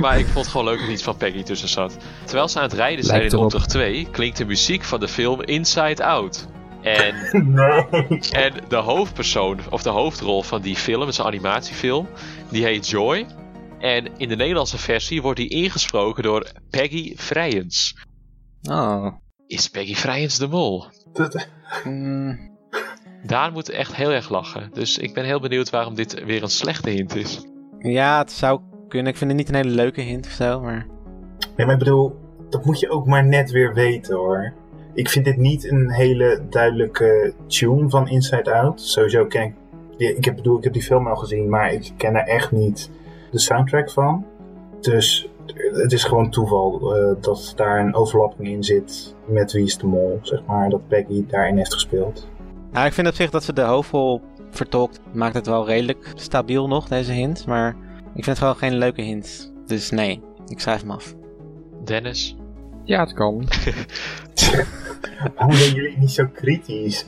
Maar ik vond het gewoon leuk dat er iets van Peggy tussen zat. Terwijl ze aan het rijden zijn
Lijkt
in
erop.
opdracht 2, klinkt de muziek van de film Inside Out. En,
Nee.
en de hoofdpersoon, of de hoofdrol van die film, het is een animatiefilm, die heet Joy. En in de Nederlandse versie wordt die ingesproken door Peggy Vrijens.
Oh.
Is Peggy Vrijens de mol?
Dat-
Mm,
Daar moet echt heel erg lachen. Dus ik ben heel benieuwd waarom dit weer een slechte hint is.
ja, het zou kunnen. Ik vind het niet een hele leuke hint of zo, maar...
Nee, maar ik bedoel, dat moet je ook maar net weer weten hoor. Ik vind dit niet een hele duidelijke tune van Inside Out. Sowieso ken ik. ja, Ik heb, bedoel, ik heb die film al gezien, maar ik ken er echt niet de soundtrack van. Dus het is gewoon toeval eh, dat daar een overlapping in zit met Wie is de Mol, zeg maar. Dat Peggy daarin heeft gespeeld.
Nou, ik vind op zich dat ze de hoofdrol vertolkt. Maakt het wel redelijk stabiel nog, deze hint. Maar ik vind het gewoon geen leuke hint. Dus nee, ik schrijf hem af.
Dennis.
Ja, het kan.
Waarom zijn jullie niet zo kritisch?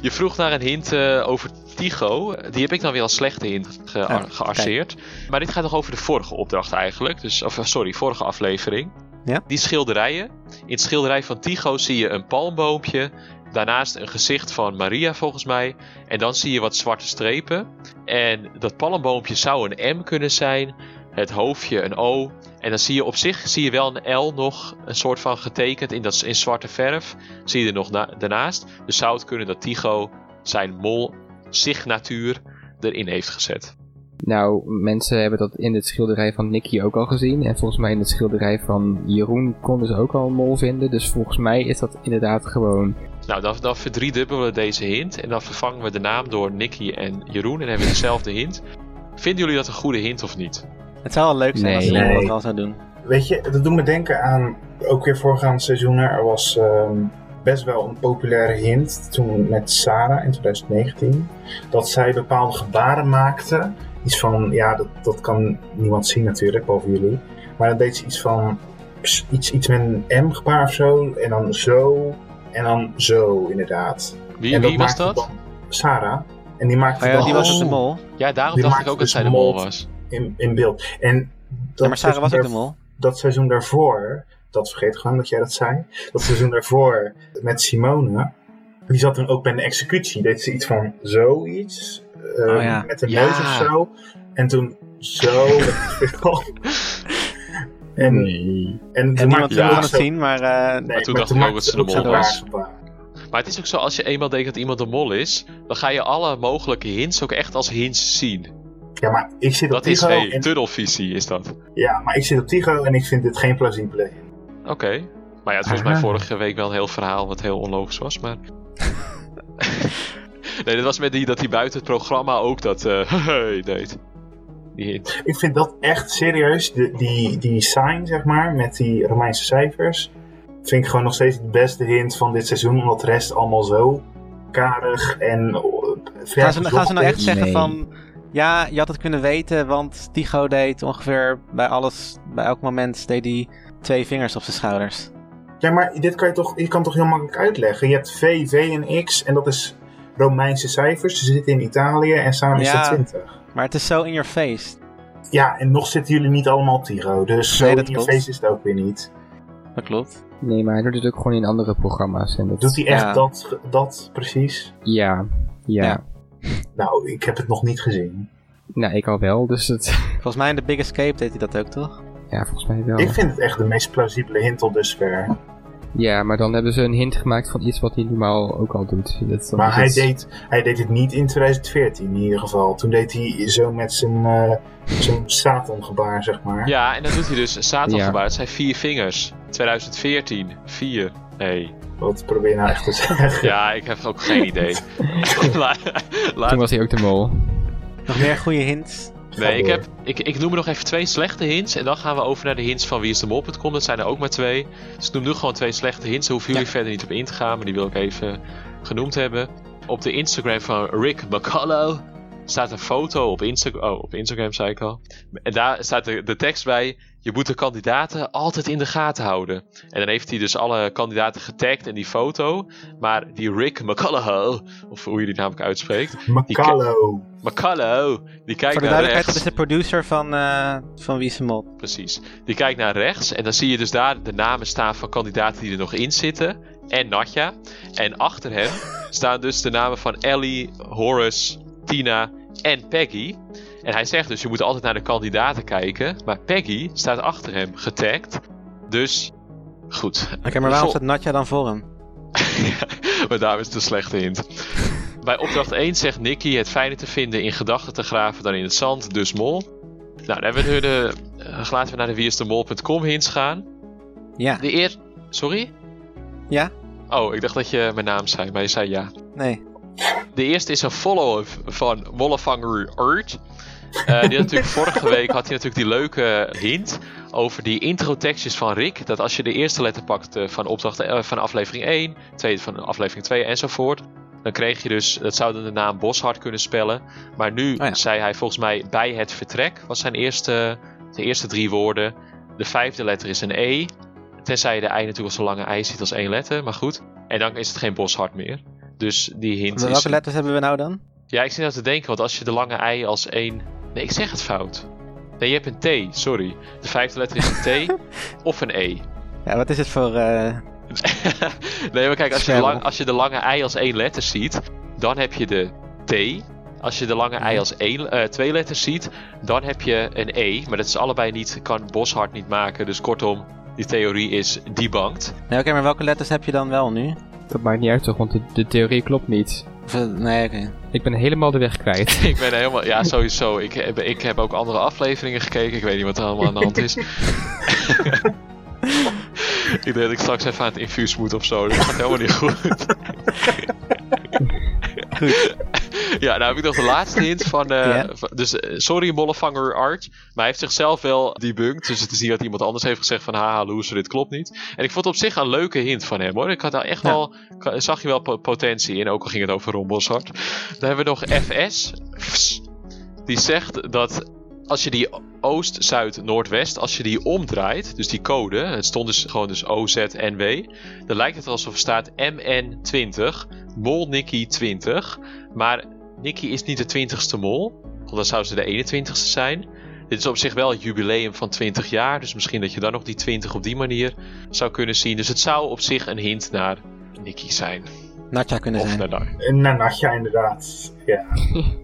Je vroeg naar een hint eh, over Tigo. Die heb ik dan weer als slechte hint ge
Ah,
gearseerd. Maar dit gaat nog over de vorige opdracht eigenlijk. Dus, of, eh, sorry, vorige aflevering.
Ja.
Die schilderijen. In het schilderij van Tigo zie je een palmboompje. Daarnaast een gezicht van Maria volgens mij. En dan zie je wat zwarte strepen. En dat palmboompje zou een M kunnen zijn. Het hoofdje een O. En dan zie je op zich zie je wel een L nog een soort van getekend in, dat, in zwarte verf. Zie je er nog na- daarnaast. Dus zou het kunnen dat Tigo zijn mol-signatuur erin heeft gezet.
Nou, mensen hebben dat in het schilderij van Nicky ook al gezien. En volgens mij in het schilderij van Jeroen konden ze ook al een mol vinden. Dus volgens mij is dat inderdaad gewoon...
Nou, dan, dan verdriedubbelen we deze hint. En dan vervangen we de naam door Nicky en Jeroen. En hebben we dezelfde hint. Vinden jullie dat een goede hint of niet?
Het zou wel leuk zijn als
Nee.
iemand dat
Nee.
wel zou doen.
Weet je, dat doet me denken aan ook weer voorgaand seizoen. Er was ehm, best wel een populaire hint toen met Sarah in 2019. Dat zij bepaalde gebaren maakte. Iets van, ja, dat, dat kan niemand zien natuurlijk, behalve jullie. Maar dan deed ze iets van, ps- iets, iets met een M-gebaar of zo. En dan zo, en dan zo inderdaad.
Wie,
en
wie was
maakte
dat?
dan Sarah. En die maakte
Oh ja,
dan
die was dus de mol.
Ja, daarom
Die
dacht ik
maakte
ook dat
dus
zij de mol
mol.
was.
in, in beeld. En dat
Ja, maar Sarah was ook de
daar-
mol.
dat seizoen daarvoor, dat vergeet ik gewoon dat jij dat zei, dat seizoen daarvoor met Simone, die zat toen ook bij een executie. Deed ze iets van zoiets, eh,
Oh ja.
met een
Ja.
neus of zo. En toen zo. en, en
En
toen
niemand
maakte ze
wilde
ook
het
zo-
zien, maar... eh,
Nee,
toen
maar
dacht ik ook
maakte
dat ze de
ook
mol
zo'n
was.
raar gebaar.
Maar het is ook zo, als je eenmaal denkt dat iemand de mol is, dan ga je alle mogelijke hints ook echt als hints zien.
Ja, maar ik zit op
Dat is,
Tigo.
hey,
en-
tunnelvisie is dat. Oké.
Ja, maar ik zit op Tigo en ik vind dit geen plausibele hint.
Maar ja, het
Ah.
was mij
Aha.
vorige week wel een heel verhaal wat heel onlogisch was, maar... nee, dit was met die dat hij buiten het programma ook dat eh deed. Die hint.
Ik vind dat echt serieus, de, die, die sign zeg maar, met die Romeinse cijfers, vind ik gewoon nog steeds de beste hint van dit seizoen, omdat de rest allemaal zo karig en eh, ver
Gaan ze, gaan ze nou echt
gezocht is.
zeggen
Nee.
van... Ja, je had het kunnen weten, want Tycho deed ongeveer bij alles... Bij elk moment deed hij twee vingers op zijn schouders.
Ja, maar dit kan je toch, je kan toch heel makkelijk uitleggen. Je hebt V, V en X en dat is Romeinse cijfers. Ze zitten in Italië en samen is
Ja.
dat 20.
Maar het is zo in your face.
Ja, en nog zitten jullie niet allemaal op Tiro, dus
Nee,
zo
dat
in je
klopt.
face is het ook weer niet.
Dat klopt.
Nee, maar hij doet het ook gewoon in andere programma's. En dat...
Doet hij echt
Ja.
dat, dat precies?
Ja, ja.
Ja.
Nou, ik heb het nog niet gezien.
Nou, ik al wel, dus het...
Volgens mij in The Big Escape deed hij dat ook, toch?
Ja, volgens mij wel.
Ik vind het echt de meest plausibele hint tot dusver.
Ja, maar dan hebben ze een hint gemaakt van iets wat hij normaal ook al doet. Dat is dan
Maar hij
iets-
deed, hij deed het niet in 2014 in ieder geval. Toen deed hij zo met zijn, eh zijn Satan-gebaar, zeg maar.
Ja, en dat doet hij dus Satan
Ja.
gebaar. Het zijn vier vingers. 2014. Vier. Nee.
Wat probeer je nou echt te zeggen?
Ja, ik heb ook geen idee. La- laat-
Toen was hij ook de mol.
Nog meer goede hints.
Nee, ik,
door.
heb, ik, ik noem er nog even twee slechte hints. En dan gaan we over naar de hints van wie is de mol.com. Dat zijn er ook maar twee. Dus ik noem nu gewoon twee slechte hints. Daar hoeven jullie verder niet op in te gaan. Maar die wil ik even genoemd hebben. Op de Instagram van Rick McCullough staat een foto op Instagram. Oh, op Instagram zei ik al. En daar staat de, de tekst bij. Je moet de kandidaten altijd in de gaten houden. En dan heeft hij dus alle kandidaten getagd in die foto. Maar die Rick McCullough, of hoe je die namelijk uitspreekt.
Macallo.
McCullough,
Voor de
die kijkt naar
duidelijkheid,
rechts.
dat is de producer van, eh van Wie is de Mol.
Precies. Die kijkt naar rechts en dan zie je dus daar de namen staan van kandidaten die er nog in zitten. En Natja. En achter hem staan dus de namen van Ellie, Horace, Tina en Peggy. En hij zegt dus, je moet altijd naar de kandidaten kijken. Maar Peggy staat achter hem, getagd. Dus, goed.
Oké, maar waarom staat Natja dan voor hem?
maar daar is de slechte hint. Bij opdracht 1 zegt Nicky het fijner te vinden in gedachten te graven dan in het zand, dus mol. Nou, dan hebben we nu de, eh, laten we naar de wieisdemol.com hints gaan.
Ja.
De eer... Sorry?
Ja?
Oh, ik dacht dat je mijn naam zei, maar je zei ja.
Nee.
De eerste is een follow-up van Wollevanger Earth. Eh, die had natuurlijk vorige week had hij natuurlijk die leuke hint over die intro-tekstjes van Rick. Dat als je de eerste letter pakt eh, van, opdracht, eh, van aflevering 1, tweede van aflevering 2 enzovoort. Dan kreeg je dus, dat zou dan de naam Boshart kunnen spellen. Maar nu
Oh ja.
zei hij volgens mij bij het vertrek was zijn eerste, de eerste drie woorden. De vijfde letter is een E. Tenzij je de I natuurlijk als een lange I ziet als één letter, maar goed. En dan is het geen Boshart meer. Dus die hint is...
Welke letters hebben we nou dan?
Ja, ik zit nou te denken, want als je de lange ei als één... Nee, ik zeg het fout. Nee, je hebt een T, sorry. De vijfde letter is een T of een E.
Ja, wat is het voor... eh,
nee, maar kijk, als je, de
Scrabble.
lang- als je de lange ei als één letter ziet, dan heb je de T. Als je de lange ei als één, eh, twee letters ziet, dan heb je een E. Maar dat is allebei niet, kan Boshart niet maken. Dus kortom, die theorie is debunked.
Nee, oké, maar welke letters heb je dan wel nu?
Dat maakt niet uit toch, want de, de theorie klopt niet.
Of, eh, nee, oké.
Ik ben helemaal de weg kwijt.
ik ben helemaal... Ja, sowieso. Ik, heb- ik heb ook andere afleveringen gekeken. Ik weet niet wat er allemaal aan de hand is. ik denk dat ik straks even aan het infuus moet of zo. dus Dat gaat helemaal niet goed. ja, nou heb ik nog de laatste hint van... eh,
Ja.
van- dus eh, sorry, mollevanger Art. Maar hij heeft zichzelf wel debunked. Dus het is niet dat iemand anders heeft gezegd van... Haha, loser, dit klopt niet. En ik vond het op zich een leuke hint van hem, hoor. Ik had daar echt
Ja.
wel... ka- Zag je wel po- potentie in, ook al ging het over Ron Boshart. Dan hebben we nog FS. Fs. Die zegt dat als je die oost, zuid, noordwest, als je die omdraait, dus die code, het stond dus gewoon dus OZ en W, dan lijkt het alsof er staat MN20, mol Nicky 20, maar Nicky is niet de 20ste mol, want dan zou ze de 21ste zijn. Dit is op zich wel een jubileum van 20 jaar, dus misschien dat je dan nog die 20 op die manier zou kunnen zien. Dus het zou op zich een hint naar Nicky zijn,
Natja kunnen
of
zijn.
naar daar.
Een nanatja inderdaad. Ja.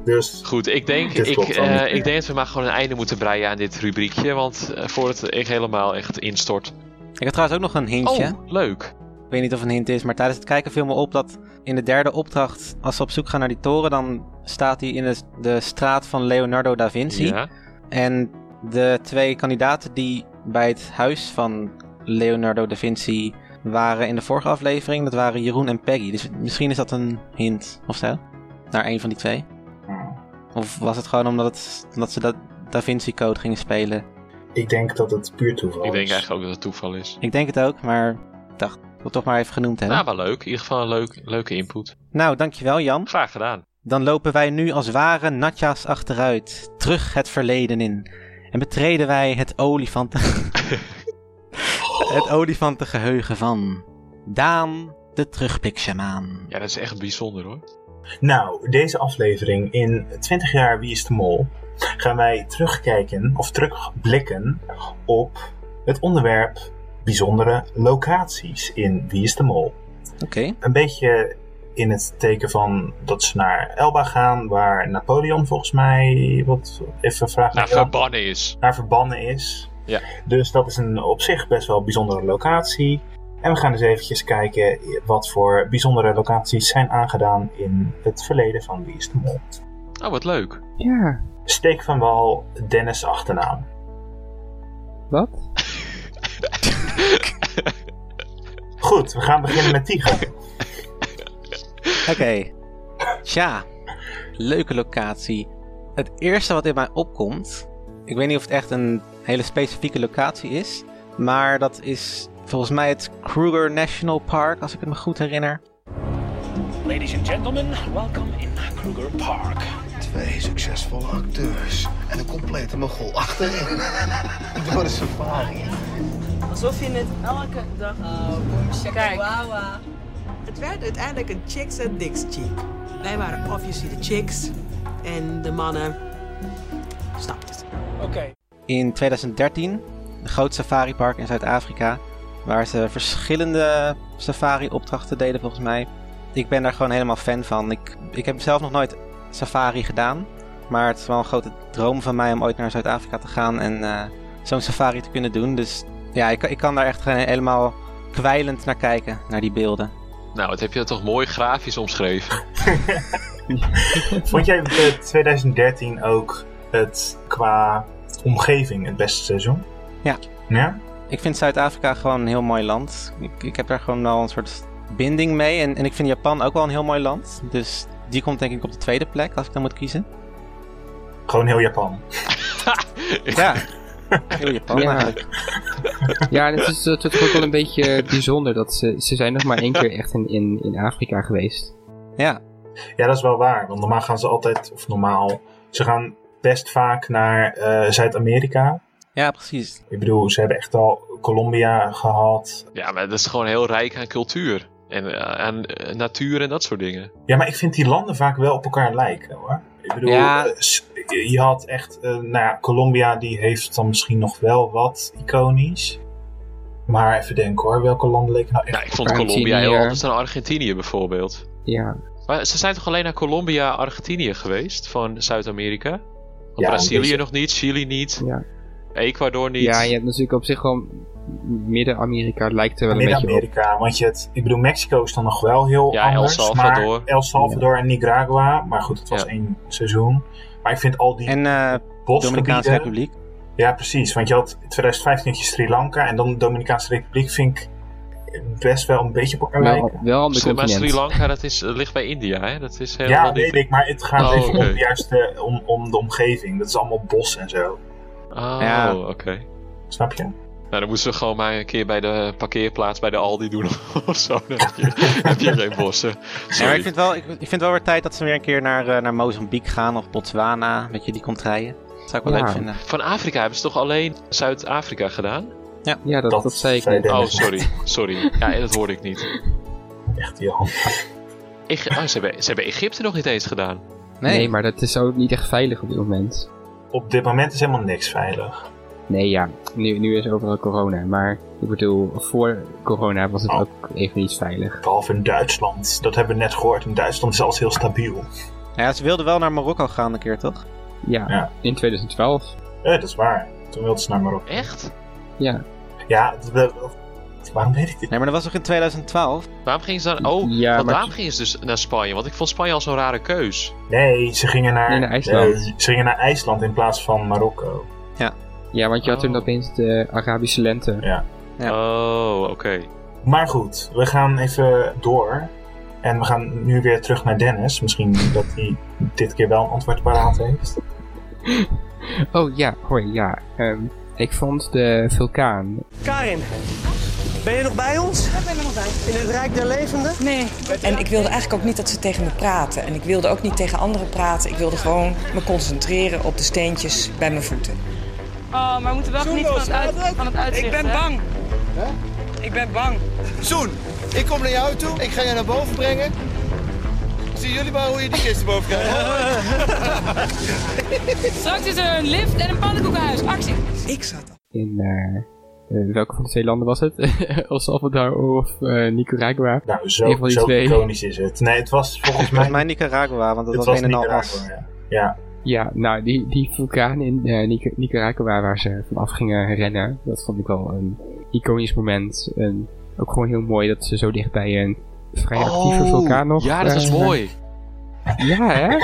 Dus
Goed, ik denk,
Dit
ik,
klopt wel
eh,
niet
ik
meer.
denk dat we maar gewoon een einde moeten breien aan dit rubriekje. Want eh, voordat ik helemaal echt instort.
Ik heb trouwens ook nog een hintje.
Oh, leuk.
weet niet of het een hint is, maar tijdens het kijken viel me op dat in de derde opdracht, als ze op zoek gaan naar die toren, dan staat hij in de, de straat van Leonardo da Vinci.
Ja.
En de twee kandidaten die bij het huis van Leonardo da Vinci waren in de vorige aflevering, dat waren Jeroen en Peggy. Dus misschien is dat een hint of zo, naar een van die twee.
Hmm.
Of was het gewoon omdat, het, omdat ze dat Da Vinci Code gingen spelen?
Ik denk dat het puur toeval
Ik denk
is.
eigenlijk ook dat het toeval is.
Ik denk het ook, maar ik dacht, ik wil het toch maar even genoemd hebben.
Nou, maar leuk. In ieder geval een leuk, leuke input.
Nou, dankjewel Jan.
Graag gedaan.
Dan lopen wij nu als ware natja's achteruit, terug het verleden in. En betreden wij het olifanten... het olifantengeheugen van... Daan, de terugbliksjamaan.
Ja, dat is echt bijzonder hoor.
Nou, deze aflevering in 20 jaar Wie is de Mol gaan wij terugkijken of terugblikken op het onderwerp bijzondere locaties in Wie is de Mol.
Oké.
Een beetje in het teken van dat ze naar Elba gaan, waar Napoleon volgens mij, wat even vragen,
Nou, verbannen is.
naar verbannen is.
Ja.
Dus dat is een op zich best wel bijzondere locatie. En we gaan eens eventjes kijken wat voor bijzondere locaties zijn aangedaan in het verleden van Wie is de Mol.
Oh, wat leuk.
Ja,
Steek van Wal, Dennis achternaam.
wat?
Goed, we gaan beginnen met Tigo.
Oké. Tja, leuke locatie. Het eerste wat in mij opkomt, ik weet niet of het echt een hele specifieke locatie is, maar dat is volgens mij het Kruger National Park, als ik het me goed herinner.
Ladies and gentlemen, welcome in Kruger Park.
Twee succesvolle acteurs en een complete mogol achterin. Door de safari.
Alsof je het elke dag... Kijk. Het werd uiteindelijk een chicks en dicks cheek. Wij waren obviously de chicks en de mannen. Snapt het.
Oké.
in 2013 een groot safaripark in Zuid-Afrika. Waar ze verschillende safari-opdrachten deden, volgens mij. Ik ben daar gewoon helemaal fan van. Ik, ik heb zelf nog nooit safari gedaan. Maar het is wel een grote droom van mij om ooit naar Zuid-Afrika te gaan en eh, zo'n safari te kunnen doen. Dus ja, ik, ik kan daar echt gewoon helemaal kwijlend naar kijken, naar die beelden.
Nou, wat heb je dat toch mooi grafisch omschreven?
Vond jij eh, 2013 ook het qua omgeving het beste seizoen?
Ja.
Ja?
Ik vind Zuid-Afrika gewoon een heel mooi land. Ik, ik heb daar gewoon wel een soort binding mee. En, en ik vind Japan ook wel een heel mooi land. Dus die komt denk ik op de tweede plek, als ik dan moet kiezen.
Gewoon heel Japan.
Ja. Heel Japan
Ja.
eigenlijk.
Ja, en het is eh, toch ook wel een beetje bijzonder dat ze, ze zijn nog maar één keer echt in, in, in Afrika geweest.
Ja.
Ja, dat is wel waar. Want normaal gaan ze altijd, of normaal, ze gaan best vaak naar eh, Zuid-Amerika.
ja, precies.
Ik bedoel, ze hebben echt al Colombia gehad.
ja, maar dat is gewoon heel rijk aan cultuur. En eh, aan eh, natuur en dat soort dingen.
Ja, maar ik vind die landen vaak wel op elkaar lijken hoor. Ik bedoel,
Ja.
eh, s- je had echt, eh, nou ja, Colombia die heeft dan misschien nog wel wat iconisch. Maar even denken hoor, welke landen leken nou echt...
Ja, ik vond
Argentinië.
Colombia heel anders dan Argentinië bijvoorbeeld.
Ja,
Maar ze zijn toch alleen naar Colombia, Argentinië geweest van Zuid-Amerika? Want
Ja,
Brazilië
dus-
nog niet, Chili niet,
ja.
Ecuador niet.
ja je hebt natuurlijk op zich wel... Midden-Amerika lijkt er wel een beetje op.
Midden-Amerika, want je het, ik bedoel, Mexico is dan nog wel heel
Ja, El
anders.
Salvador.
Maar El Salvador en Nicaragua, maar goed, het was
Ja.
één seizoen. Maar ik vind al die
En eh Dominicaanse
bosgebieden...
Republiek.
Ja, precies. Want je had in 2015 had je Sri Lanka en dan de Dominicaanse Republiek vind ik best wel een beetje op elkaar
Wel,
lijken.
wel ander
Sri- maar Sri
continent.
Lanka, dat is, dat ligt bij India, hè? Dat is helemaal
Ja,
niet...
weet ik, maar het gaat
Oh,
even
oké.
om, juist de, om, om de omgeving. Dat is allemaal bos en zo.
Oh,
Ja.
oké.
Snap je?
Nou, dan moeten ze gewoon maar een keer bij de parkeerplaats bij de Aldi doen of zo. Dan heb je, heb je geen bossen.
Ja, maar ik
Sorry.
vind, wel, ik, ik vind wel weer tijd dat ze weer een keer naar, eh, naar Mozambique gaan of Botswana. Weet je, die contraien. Dat zou ik wel
Ja.
leuk vinden.
Van Afrika hebben ze toch alleen Zuid-Afrika gedaan?
Ja, dat, dat, zei ik net.
Oh,
Dennis net.
sorry. Sorry. Ja, dat hoorde ik niet.
Echt, Johan.
Eg- oh, ze, hebben, ze hebben Egypte nog niet eens gedaan.
Nee. maar dat is ook niet echt veilig op dit moment.
Op dit moment is helemaal niks veilig.
Nee, ja, nu, nu is overal corona. Maar ik bedoel, voor corona was het ook even niet veilig.
Behalve in Duitsland. Dat hebben we net gehoord. In Duitsland is alles heel stabiel.
Nou ja, ze wilden wel naar Marokko gaan een keer, toch?
Ja,
Ja.
in 2012.
Eh, dat is waar. Toen wilden ze naar Marokko.
Echt?
Ja,
Ja, de- Waarom weet ik dit?
Nee, maar dat was toch in 2012?
Waarom gingen ze dan... Oh,
Ja,
want
maar-
daarom gingen ze dus naar Spanje. Want ik vond Spanje al zo'n rare keus.
Nee, ze gingen naar,
Nee, naar IJsland.
eh, ze gingen naar IJsland in plaats van Marokko.
Ja.
Ja, want je had toen opeens de Arabische lente.
Ja.
Oh, oké.
Maar goed, we gaan even door. En we gaan nu weer terug naar Dennis. Misschien dat hij dit keer wel een antwoord paraat heeft.
Oh ja, hoi, ja. Ehm, ik vond de vulkaan.
Karin, ben je nog bij ons? Ik ben er nog bij. In het Rijk der Levenden? Nee.
En ik wilde eigenlijk ook niet dat ze tegen me praten. En ik wilde ook niet tegen anderen praten. Ik wilde gewoon me concentreren op de steentjes bij mijn voeten.
Oh, maar we moeten wel genieten van het, uit, van het uitzicht.
Ik ben
hè?
bang. Ik ben bang. Zoen, ik kom naar jou toe. Ik ga je naar boven brengen. Zien jullie maar hoe je die kist boven krijgt.
Straks is er een lift en een pannenkoekenhuis. Actie!
ik zat
In eh, eh, welke van de twee landen was het? El Salvador of eh, Nicaragua?
Nou,
Een
zo,
van die
zo
twee.
iconisch is het. Nee, het was volgens mij...
Volgens mij Nicaragua, want dat
Het
was
was
een en al
Nicaragua,
as.
ja. Ja,
Ja, nou, die, die vulkaan in eh, Nic- Nicaragua waar ze vanaf gingen rennen, dat vond ik wel een iconisch moment. En ook gewoon heel mooi dat ze zo dichtbij een vrij actieve
Oh,
vulkaan nog...
Ja, dat is
eh,
mooi.
Ja, hè?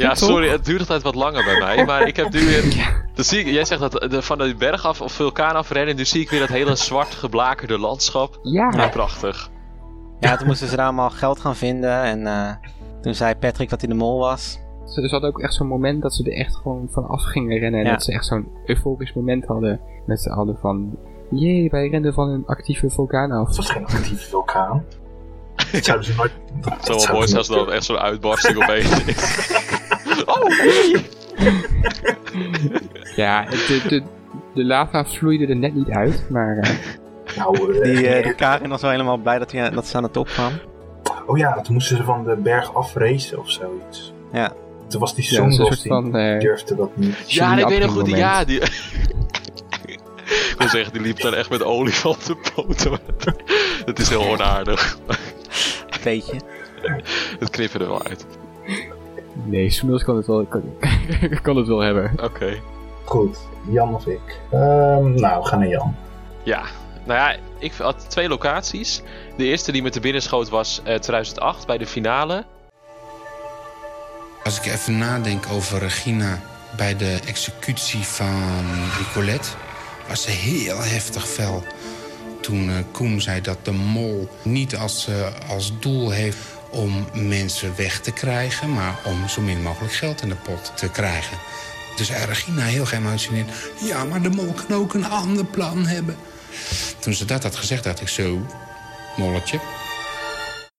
Ja,
toch?
sorry, het duurt altijd wat langer bij mij. Maar ik heb nu weer. Dan zie ik, jij zegt dat de, van de berg af of vulkaan afrennen. Nu zie ik weer dat hele zwart geblakerde landschap.
Ja.
prachtig.
Ja, toen moesten ze daar allemaal geld gaan vinden. En eh, toen zei Patrick dat hij de mol was.
Ze, ze hadden ook echt zo'n moment dat ze er echt gewoon vanaf gingen rennen. En
Ja.
dat ze echt zo'n euforisch moment hadden met z'n allen van... Jee, wij renden van een actieve vulkaan af. Het
was geen actieve vulkaan. dat zouden ze nooit...
Het zou wel mooi zijn als dat echt zo'n uitbarsting opeens is. Oh,
Ja, het- de, de, de lava vloeide er net niet uit, maar... eh,
Nou,
Die, eh, die Karin was wel helemaal blij dat, hij, eh, dat ze aan de top kwam. eh,
Oh ja, toen moesten ze van de berg afracen of zoiets.
Ja.
Toen was die
Ja, dat is een
Soendos,
soort
die
van, eh,
durfde dat niet.
Ja, ik weet nog goed. die-
moment.
Ja, die. Ik wil zeggen, die liep dan echt met olifanten poten. Het is heel onaardig.
Beetje.
Het knippen er wel uit.
Nee, Soenos kan het wel, kan, kan het wel hebben.
Oké.
Goed, Jan of ik? Ehm, nou, we gaan naar Jan.
Ja, nou ja, ik had twee locaties. De eerste die me te binnen schoot was eh, 2008 bij de finale.
Als ik even nadenk over Regina bij de executie van Ricolette, was ze heel heftig fel. Toen eh, Koen zei dat de mol niet als, eh, als doel heeft om mensen weg te krijgen, maar om zo min mogelijk geld in de pot te krijgen. Dus eh, Regina heel geëmotioneerd. Ja, maar de mol kan ook een ander plan hebben. Toen ze dat had gezegd, dacht ik zo, molletje.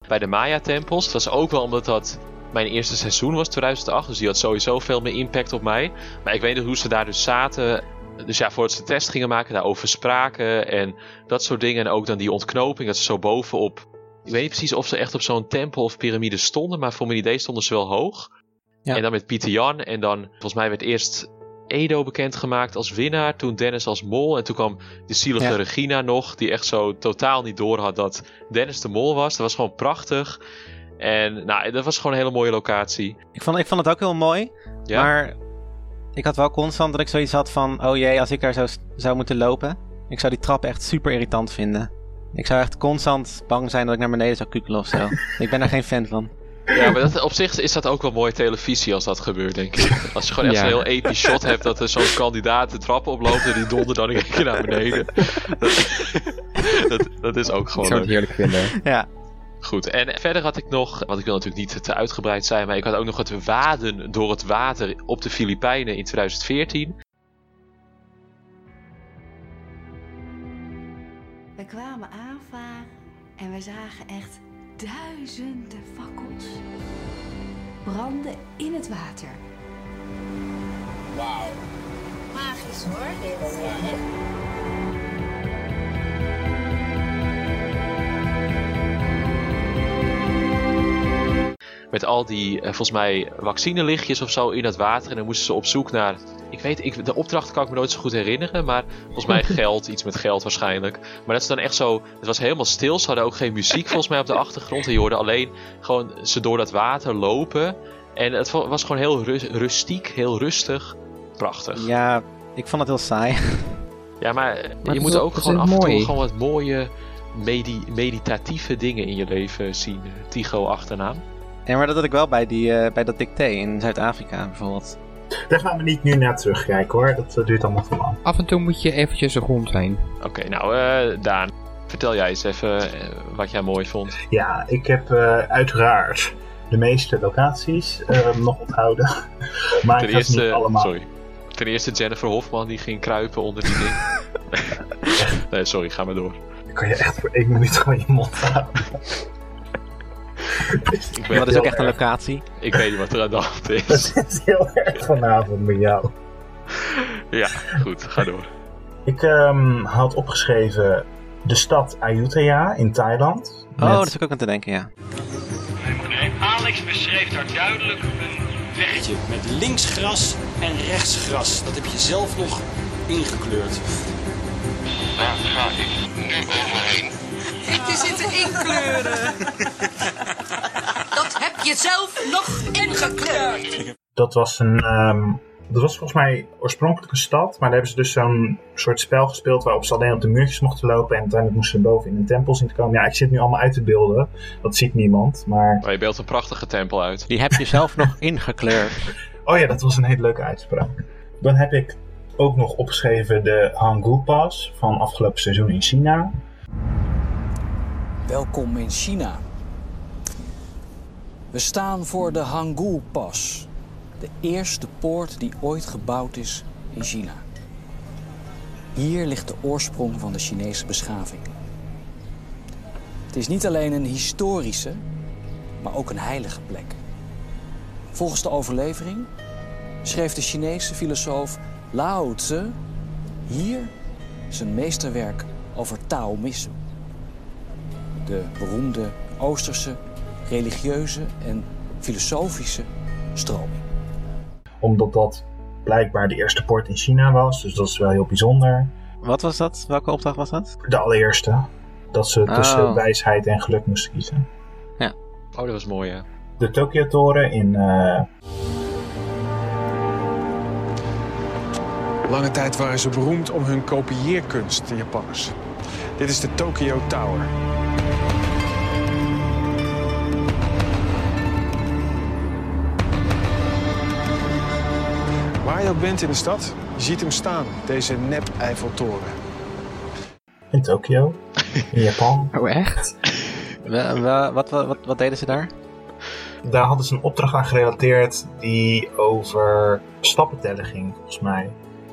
Bij de Maya-tempels. Dat was ook wel omdat dat mijn eerste seizoen was, 2008. Dus die had sowieso veel meer impact op mij. Maar ik weet nog hoe ze daar dus zaten. Dus ja, voordat ze de test gingen maken, daarover spraken en dat soort dingen. En ook dan die ontknoping, dat ze zo bovenop... Ik weet niet precies of ze echt op zo'n tempel of piramide stonden, maar voor mijn idee stonden ze wel hoog. En dan met Pieter Jan. En dan, volgens mij werd eerst Edo bekendgemaakt als winnaar. Toen Dennis als mol. En toen kwam de zielige
Ja.
Regina nog. Die echt zo totaal niet door had dat Dennis de mol was. Dat was gewoon prachtig. En nou, dat was gewoon een hele mooie locatie.
Ik vond, ik vond het ook heel mooi.
Ja.
Maar ik had wel constant dat ik zoiets had van... Oh jee, als ik daar zou, zou moeten lopen... Ik zou die trap echt super irritant vinden. Ik zou echt constant bang zijn dat ik naar beneden zou kukelen of zo. ik ben daar geen fan van.
Ja, maar dat, op zich is dat ook wel mooie televisie als dat gebeurt, denk ik. Als je gewoon echt
Ja.
zo'n heel episch shot hebt dat er zo'n kandidaat de trap oploopt en die donder dan in één keer naar beneden. Dat, dat, dat is ook gewoon
ik zou
leuk.
het heerlijk vinden.
Ja.
Goed, en verder had ik nog, want ik wil natuurlijk niet te uitgebreid zijn, maar ik had ook nog het waden door het water op de Filipijnen in 2014.
We kwamen aanvaren en we zagen echt duizenden fakkels branden in het water.
Wauw. Magisch hoor, dit.
Met al die, eh, volgens mij, vaccinelichtjes of zo in het water. En dan moesten ze op zoek naar. Ik weet, ik, de opdracht kan ik me nooit zo goed herinneren. Maar volgens mij geld, iets met geld waarschijnlijk. Maar dat ze dan echt zo. Het was helemaal stil. Ze hadden ook geen muziek volgens mij op de achtergrond. En je hoorde alleen gewoon ze door dat water lopen. En het vo- was gewoon heel ru- rustiek, heel rustig. Prachtig.
Ja, ik vond het heel saai.
Ja, maar, eh,
Maar
je
het
moet
is wel-
ook
het
gewoon
is
af en toe
mooi.
gewoon wat mooie medi- meditatieve dingen in je leven zien. eh, Tycho achternaam.
Ja, maar dat had ik wel bij, die, eh, bij dat dicté in Zuid-Afrika bijvoorbeeld.
Daar gaan we niet nu naar terugkijken hoor, dat eh, duurt allemaal te lang.
Af en toe moet je eventjes rond zijn.
Oké, nou eh, Daan, vertel jij eens even eh, wat jij mooi vond.
Ja, ik heb eh, uiteraard de meeste locaties eh, nog onthouden. Maar ik
Ten
ga ze niet
eerste,
allemaal.
sorry. Ten eerste Jennifer Hofman die ging kruipen onder die ding. nee, sorry, ga maar door.
Dan kan je echt voor één minuut gewoon je mond houden.
Ik
Maar dat is
heel
ook echt een
erg-
locatie.
Ik weet niet wat er aan de hand is.
Dat is heel erg vanavond met jou.
ja, goed, ga door.
Ik ehm, had opgeschreven de stad Ayutthaya in Thailand.
Oh,
Met-
daar zit ik ook aan te denken, ja.
Alex beschreef daar duidelijk een wegje met linksgras en rechtsgras. Dat heb je zelf nog ingekleurd. Daar ga ik nu overheen.
Je zit er inkleuren. Dat heb je zelf nog ingekleurd.
Dat was een. ehm, dat was volgens mij oorspronkelijk een stad, maar daar hebben ze dus zo'n soort spel gespeeld waarop ze alleen op de muurtjes mochten lopen en uiteindelijk moesten ze boven in een tempel zien te komen. Ja, ik zit nu allemaal uit te beelden. Dat ziet niemand, maar.
Maar je beeldt een prachtige tempel uit.
Die heb je zelf nog ingekleurd.
Oh ja, dat was een hele leuke uitspraak. Dan heb ik ook nog opgeschreven de Hangul Pass van afgelopen seizoen in China.
Welkom in China. We staan voor de Hangul-pas. De eerste poort die ooit gebouwd is in China. Hier ligt de oorsprong van de Chinese beschaving. Het is niet alleen een historische, maar ook een heilige plek. Volgens de overlevering schreef de Chinese filosoof Lao Tzu hier zijn meesterwerk over Taoïsme de beroemde Oosterse religieuze en filosofische stroming.
Omdat dat blijkbaar de eerste poort in China was, dus dat is wel heel bijzonder.
Wat was dat? Welke opdracht was dat?
De allereerste. Dat ze
Oh.
tussen wijsheid en geluk moesten kiezen.
Ja.
Oh, dat was mooi, ja.
De Tokyo-toren in eh,
Lange tijd waren ze beroemd om hun kopieerkunst, de Japanners. Dit is de Tokyo Tower. Waar je ook bent in de stad, je ziet hem staan, deze nep-Eiffeltoren.
in Tokyo, in Japan.
Oh, echt?
wat, wat, wat, wat deden ze daar?
Daar hadden ze een opdracht aan gerelateerd die over stappentellen ging, volgens mij.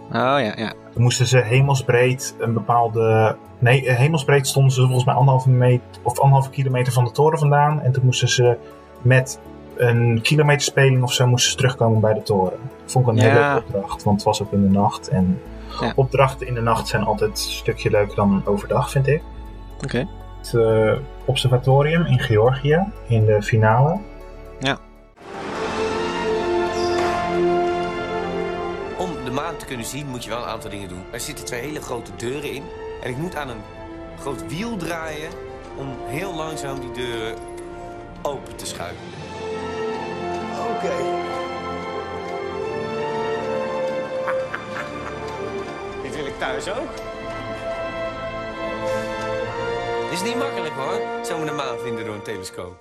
Oh ja, ja.
Toen moesten ze hemelsbreed een bepaalde... Nee, eh, hemelsbreed stonden ze volgens mij anderhalve, meter, of anderhalve kilometer van de toren vandaan. En toen moesten ze met een kilometerspeling of zo moesten ze terugkomen bij de toren. Vond ik een hele
Ja.
leuke opdracht, want het was ook in de nacht. En
Ja.
opdrachten in de nacht zijn altijd een stukje leuker dan overdag, vind ik.
Oké.
Het eh, observatorium in Georgië, in de finale.
Ja.
Om de maan te kunnen zien moet je wel een aantal dingen doen. Er zitten twee hele grote deuren in. En ik moet aan een groot wiel draaien om heel langzaam die deuren open te schuiven.
Oké.
Dit wil ik thuis ook. Dit is niet makkelijk hoor, zomaar de maan vinden door een telescoop.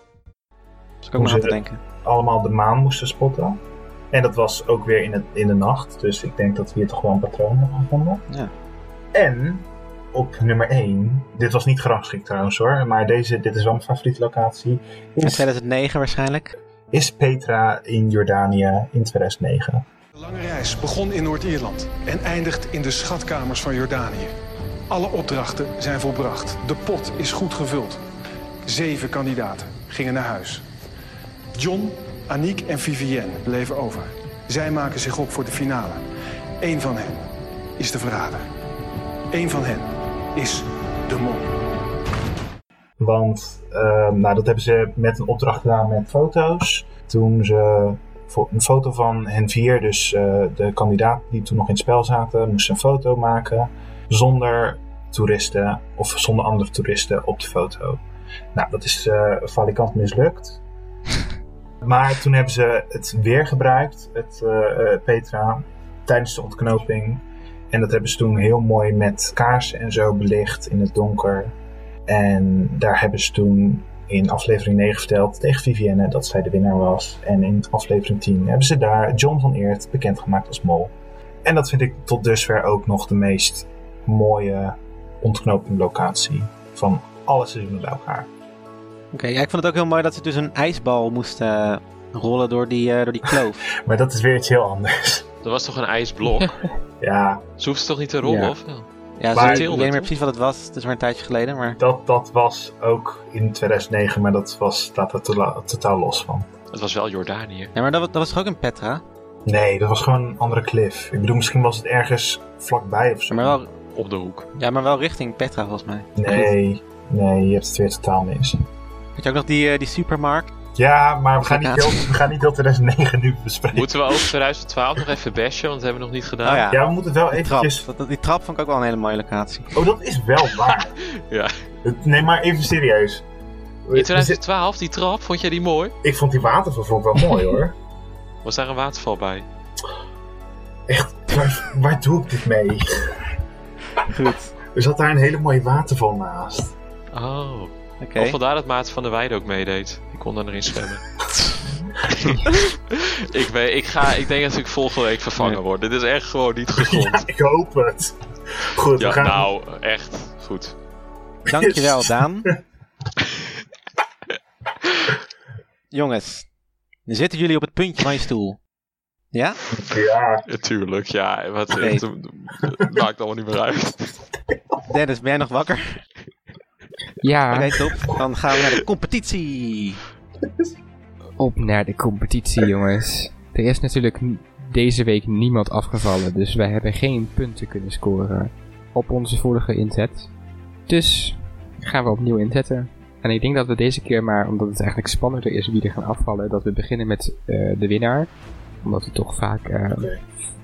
Dus ik ook
Hoe
maar
ze
aan te denken.
allemaal de maan moesten spotten. En dat was ook weer in, het, in de nacht. Dus ik denk dat we hier toch gewoon patronen hebben gevonden.
Ja.
En op nummer 1. Dit was niet gerangschikt trouwens hoor. Maar deze, dit is wel mijn favoriete locatie.
In
Is,
2009 waarschijnlijk.
is Petra in Jordanië in 2009.
De lange reis begon in Noord-Ierland en eindigt in de schatkamers van Jordanië. Alle opdrachten zijn volbracht. De pot is goed gevuld. Zeven kandidaten gingen naar huis. John, Aniek en Vivienne bleven over. Zij maken zich op voor de finale. Eén van hen is de verrader. Eén van hen is de mol.
Want ehm, nou, dat hebben ze met een opdracht gedaan met foto's. Toen ze voor een foto van hen vier, dus eh, de kandidaten die toen nog in het spel zaten, moesten een foto maken zonder toeristen of zonder andere toeristen op de foto. Nou, dat is eh valikant mislukt. Maar toen hebben ze het weer gebruikt, het eh, eh, Petra, tijdens de ontknoping. En dat hebben ze toen heel mooi met kaarsen en zo belicht in het donker. En daar hebben ze toen in aflevering 9 verteld tegen Vivienne dat zij de winnaar was. En in aflevering 10 hebben ze daar John van Eert bekendgemaakt als mol. En dat vind ik tot dusver ook nog de meest mooie ontknopinglocatie van alle seizoenen bij elkaar.
Oké, ja, ik vond het ook heel mooi dat ze dus een ijsbal moesten eh, rollen door die, eh, door die kloof.
Maar dat is weer iets heel anders.
Er was toch een ijsblok?
ja.
Ze hoeft ze toch niet te rollen,
Ja.
of wel?
Ja,
Maar-
ze, ik weet niet meer precies wat het was. Het is maar een tijdje geleden, maar...
Dat, dat was ook in 2009, maar dat was, staat er tola- totaal los van.
Het was wel Jordanië.
Ja, maar dat, wa- dat was toch ook in Petra?
Nee, dat was gewoon een andere cliff. Ik bedoel, misschien was het ergens vlakbij of zo.
Maar wel...
Op de hoek.
Ja, maar wel richting Petra, volgens mij.
Nee, nee, je hebt het weer totaal mis.
Had je ook nog die, eh, die supermarkt?
Ja, maar we gaan niet heel, we gaan niet heel 2009 nu bespreken.
Moeten we over 2012 nog even bashen, want dat hebben we nog niet gedaan.
Oh ja.
Ja, we moeten wel
die
eventjes-
Trap. Dat, die trap vond ik ook wel een hele mooie locatie.
Oh, dat is wel waar.
ja.
Nee, maar even serieus.
In 2012, die trap, vond jij die mooi?
Ik vond die waterval vond ik wel mooi hoor.
Was daar een waterval bij?
Waar, waar doe ik dit mee?
Goed.
Er zat daar een hele mooie waterval naast.
Oh.
Oké.
Of vandaar dat Maarten van der Weijden ook meedeed. Ik kon daar erin zwemmen. ik, weet, ik, ga, ik denk dat ik volgende week vervangen word. Dit is echt gewoon niet gegrond.
Ik hoop het. Goed,
Ja,
we gaan...
nou, echt. Goed.
Dankjewel, Daan. Jongens, dan zitten jullie op het puntje van je stoel. Ja?
Ja.
Tuurlijk, ja. Wat,
Nee.
het, het maakt allemaal niet meer uit.
Dennis, ben jij nog wakker?
Ja.
Oké, top. Dan gaan we naar de competitie.
Op naar de competitie, jongens. Er is natuurlijk n- deze week niemand afgevallen, dus wij hebben geen punten kunnen scoren op onze vorige inzet. Dus gaan we opnieuw inzetten. En ik denk dat we deze keer maar, omdat het eigenlijk spannender is wie er gaan afvallen, dat we beginnen met eh, de winnaar. Omdat we toch vaak eh,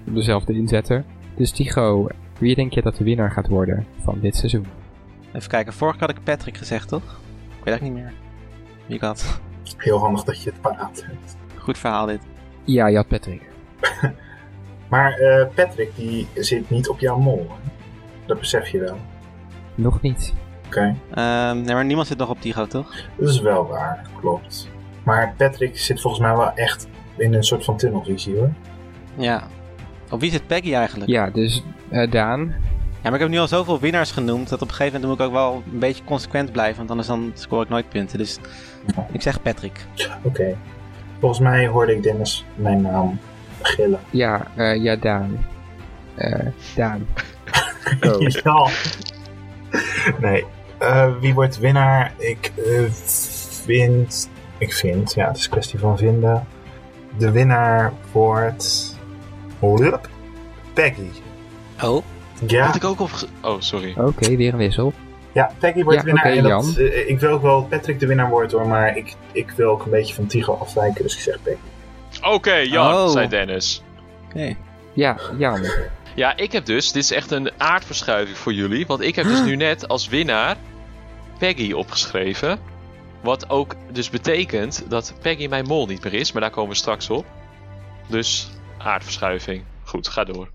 dezelfde inzetten. Dus Tigo, wie denk je dat de winnaar gaat worden van dit seizoen?
Even kijken, vorige keer had ik Patrick gezegd, toch? Ik weet eigenlijk niet meer. Wie ik had.
Heel handig dat je het paraat hebt.
Goed verhaal dit.
Ja, je had Patrick.
Maar eh, Patrick, die zit niet op jouw mol. hè? Dat besef je wel.
Nog niet.
Oké.
Ehm, nee, maar niemand zit nog op Tigo, toch?
Dat is wel waar, klopt. Maar Patrick zit volgens mij wel echt in een soort van tunnelvisie hoor.
Ja. Op wie zit Peggy eigenlijk?
Ja, dus eh, Daan.
Ja, maar ik heb nu al zoveel winnaars genoemd dat op een gegeven moment moet ik ook wel een beetje consequent blijven, want anders dan scoor ik nooit punten. Dus ik zeg Patrick.
Oké. Volgens mij hoorde ik Dennis mijn naam gillen.
Ja, eh, ja, Daan. Eh, Daan. Go.
Ja. Nee. Eh, wie wordt winnaar? Ik eh, vind. Ik vind, ja, het is kwestie van vinden. De winnaar wordt. Lup. Peggy.
Oh.
Ja.
Had ik ook op. Oh, sorry.
Oké, weer een wissel.
Ja, Peggy wordt
Ja,
winnaar.
oké,
en dat,
Jan.
eh, ik wil ook wel dat Patrick de winnaar wordt hoor, maar ik, ik wil ook een beetje van Tigo afwijken, dus ik zeg Peggy.
Oké, Jan,
Oh.
zei Dennis.
Ja, Jan.
Ja, ik heb dus. Dit is echt een aardverschuiving voor jullie. Want ik heb dus nu net als winnaar Peggy opgeschreven. Wat ook dus betekent dat Peggy mijn mol niet meer is. Maar daar komen we straks op. Dus aardverschuiving. Goed, ga door.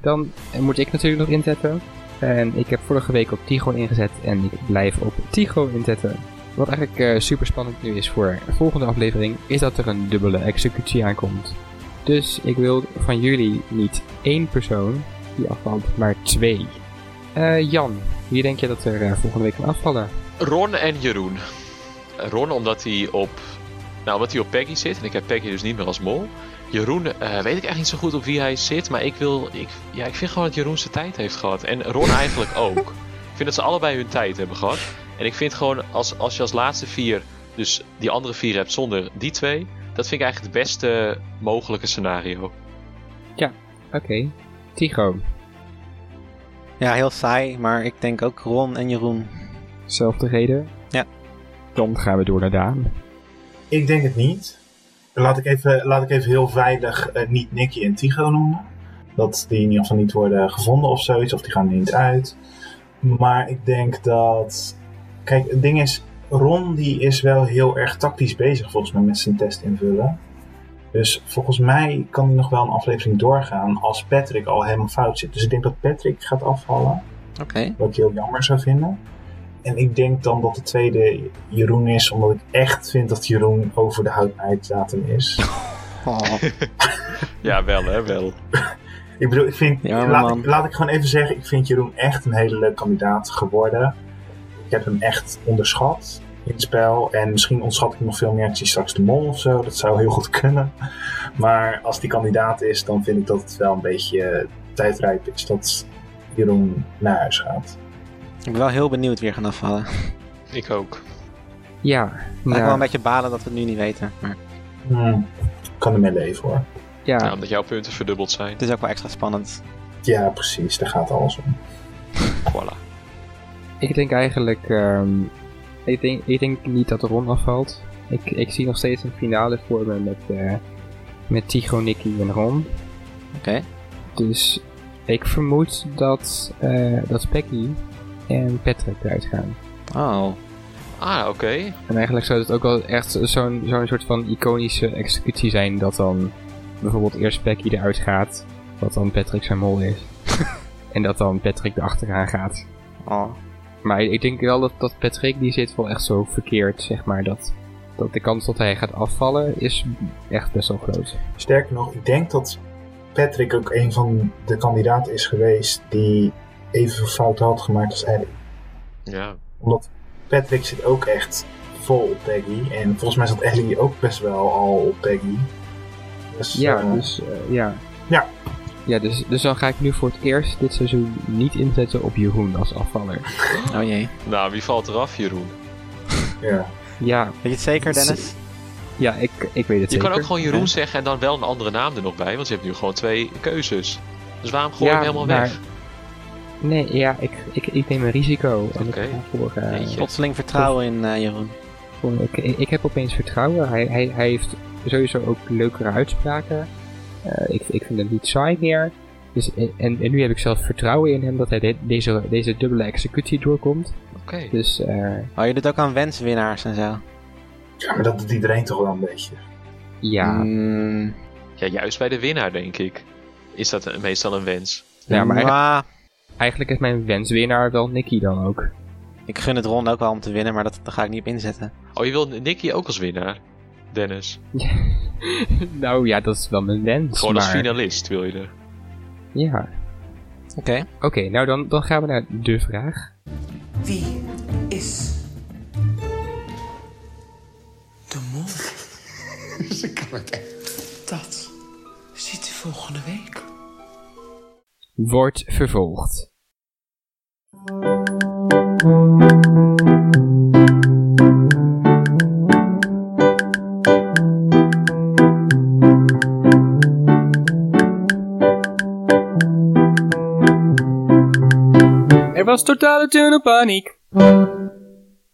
Dan eh, moet ik natuurlijk nog inzetten. En ik heb vorige week op Tigo ingezet en ik blijf op Tigo inzetten. Wat eigenlijk eh, super spannend nu is voor de volgende aflevering, is dat er een dubbele executie aankomt. Dus ik wil van jullie niet één persoon die afvalt, maar twee. Eh, Jan, wie denk je dat er eh, volgende week kan afvallen?
Ron en Jeroen. Ron omdat hij op... Nou, omdat hij op Peggy zit. En ik heb Peggy dus niet meer als mol. Jeroen, eh, weet ik eigenlijk niet zo goed op wie hij zit. Maar ik wil... Ik, ja, ik vind gewoon dat Jeroen zijn tijd heeft gehad. En Ron eigenlijk ook. Ik vind dat ze allebei hun tijd hebben gehad. En ik vind gewoon, als, als je als laatste vier... Dus die andere vier hebt zonder die twee... Dat vind ik eigenlijk het beste mogelijke scenario.
Ja, oké. Tigo.
Ja, heel saai, maar ik denk ook Ron en Jeroen.
Zelfde reden?
Ja.
Dan gaan we door naar Daan.
Ik denk het niet. Laat ik even, laat ik even heel veilig eh, niet Nicky en Tigo noemen. Dat die in ieder geval niet worden gevonden of zoiets, of die gaan er niet uit. Maar ik denk dat. Kijk, het ding is, Ron die is wel heel erg tactisch bezig volgens mij met zijn test invullen. Dus volgens mij kan die nog wel een aflevering doorgaan als Patrick al helemaal fout zit. Dus ik denk dat Patrick gaat afvallen.
Oké.
Wat ik heel jammer zou vinden. En ik denk dan dat de tweede Jeroen is, omdat ik echt vind dat Jeroen over de houdbaarheidsdatum is.
Ja, wel hè, wel.
Ik bedoel, ik vind,
Ja,
laat,
man.
ik, laat ik gewoon even zeggen, ik vind Jeroen echt een hele leuk kandidaat geworden. Ik heb hem echt onderschat in het spel. En misschien ontschat ik hem nog veel meer als hij straks de mol of zo. Dat zou heel goed kunnen. Maar als die kandidaat is, dan vind ik dat het wel een beetje eh, tijdrijp is dat Jeroen naar huis gaat.
Ik ben wel heel benieuwd wie er gaan afvallen.
Ik ook.
Ja.
Ik
ja.
wel een beetje balen dat we het nu niet weten. Maar...
Ik Hmm, kan ermee leven hoor.
Ja.
omdat jouw punten verdubbeld zijn.
Het is ook wel extra spannend.
Ja, precies. Daar gaat alles om.
Voilà.
Ik denk eigenlijk. ehm, ik, denk, ik denk niet dat Ron afvalt. Ik, ik zie nog steeds een finale voor me met, eh met Tycho, Nicky en Ron.
Oké.
Dus ik vermoed dat, eh, dat Becky en Patrick eruit gaan.
Oh.
Ah, oké.
En eigenlijk zou het ook wel echt zo'n zo'n soort van iconische executie zijn dat dan bijvoorbeeld eerst Becky eruit gaat, wat dan Patrick zijn mol is. en dat dan Patrick erachteraan gaat.
Oh.
Maar ik denk wel dat, dat Patrick, die zit wel echt zo verkeerd, zeg maar, dat, dat de kans dat hij gaat afvallen is echt best wel groot.
Sterker nog, ik denk dat Patrick ook een van de kandidaten is geweest die evenveel fouten had gemaakt als Eric.
Ja.
Omdat Patrick zit ook echt vol op Peggy. En volgens mij zat Ellie ook best wel al op Peggy. Dus,
Ja,
eh,
dus eh, ja.
Ja.
Ja, dus, dus dan ga ik nu voor het eerst dit seizoen niet inzetten op Jeroen als afvaller.
Oh jee.
Nou, wie valt eraf, Jeroen?
Ja.
Ja. Weet
je het zeker, Dennis?
Ja, ik, ik weet het
Je
zeker.
kan ook gewoon Jeroen
Ja.
zeggen en dan wel een andere naam er nog bij, want je hebt nu gewoon twee keuzes. Dus waarom gooi je
Ja,
hem helemaal
maar-
weg?
Nee, ja, ik, ik, ik neem een risico. En ik ga voor... eh,
Plotseling vertrouwen in eh, Jeroen.
voor- ik, ik heb opeens vertrouwen. Hij, hij, hij heeft sowieso ook leukere uitspraken. Eh, ik, ik vind hem niet saai meer. Dus, en, en nu heb ik zelf vertrouwen in hem dat hij de- deze, deze dubbele executie doorkomt.
Oké.
Dus, eh,
Oh, je doet ook aan wenswinnaars en zo.
Ja, maar dat doet iedereen toch wel een beetje.
ja.
Mm.
Ja, juist bij de winnaar, denk ik. Is dat een- meestal een wens?
ja, maar eigenlijk, eigenlijk is mijn wenswinnaar wel Nicky dan ook.
Ik gun het Ron ook wel om te winnen, maar dat, daar ga ik niet op inzetten.
Oh, je wil Nicky ook als winnaar? Dennis.
nou ja, dat is wel mijn wens.
Gewoon als
maar-
finalist wil je dus? er.
Ja.
Oké.
Oké, nou dan, dan gaan we naar de vraag.
Wie is de mol? Ze kan het echt. Dat ziet u volgende week.
Wordt vervolgd.
Er was totale tunnelpaniek.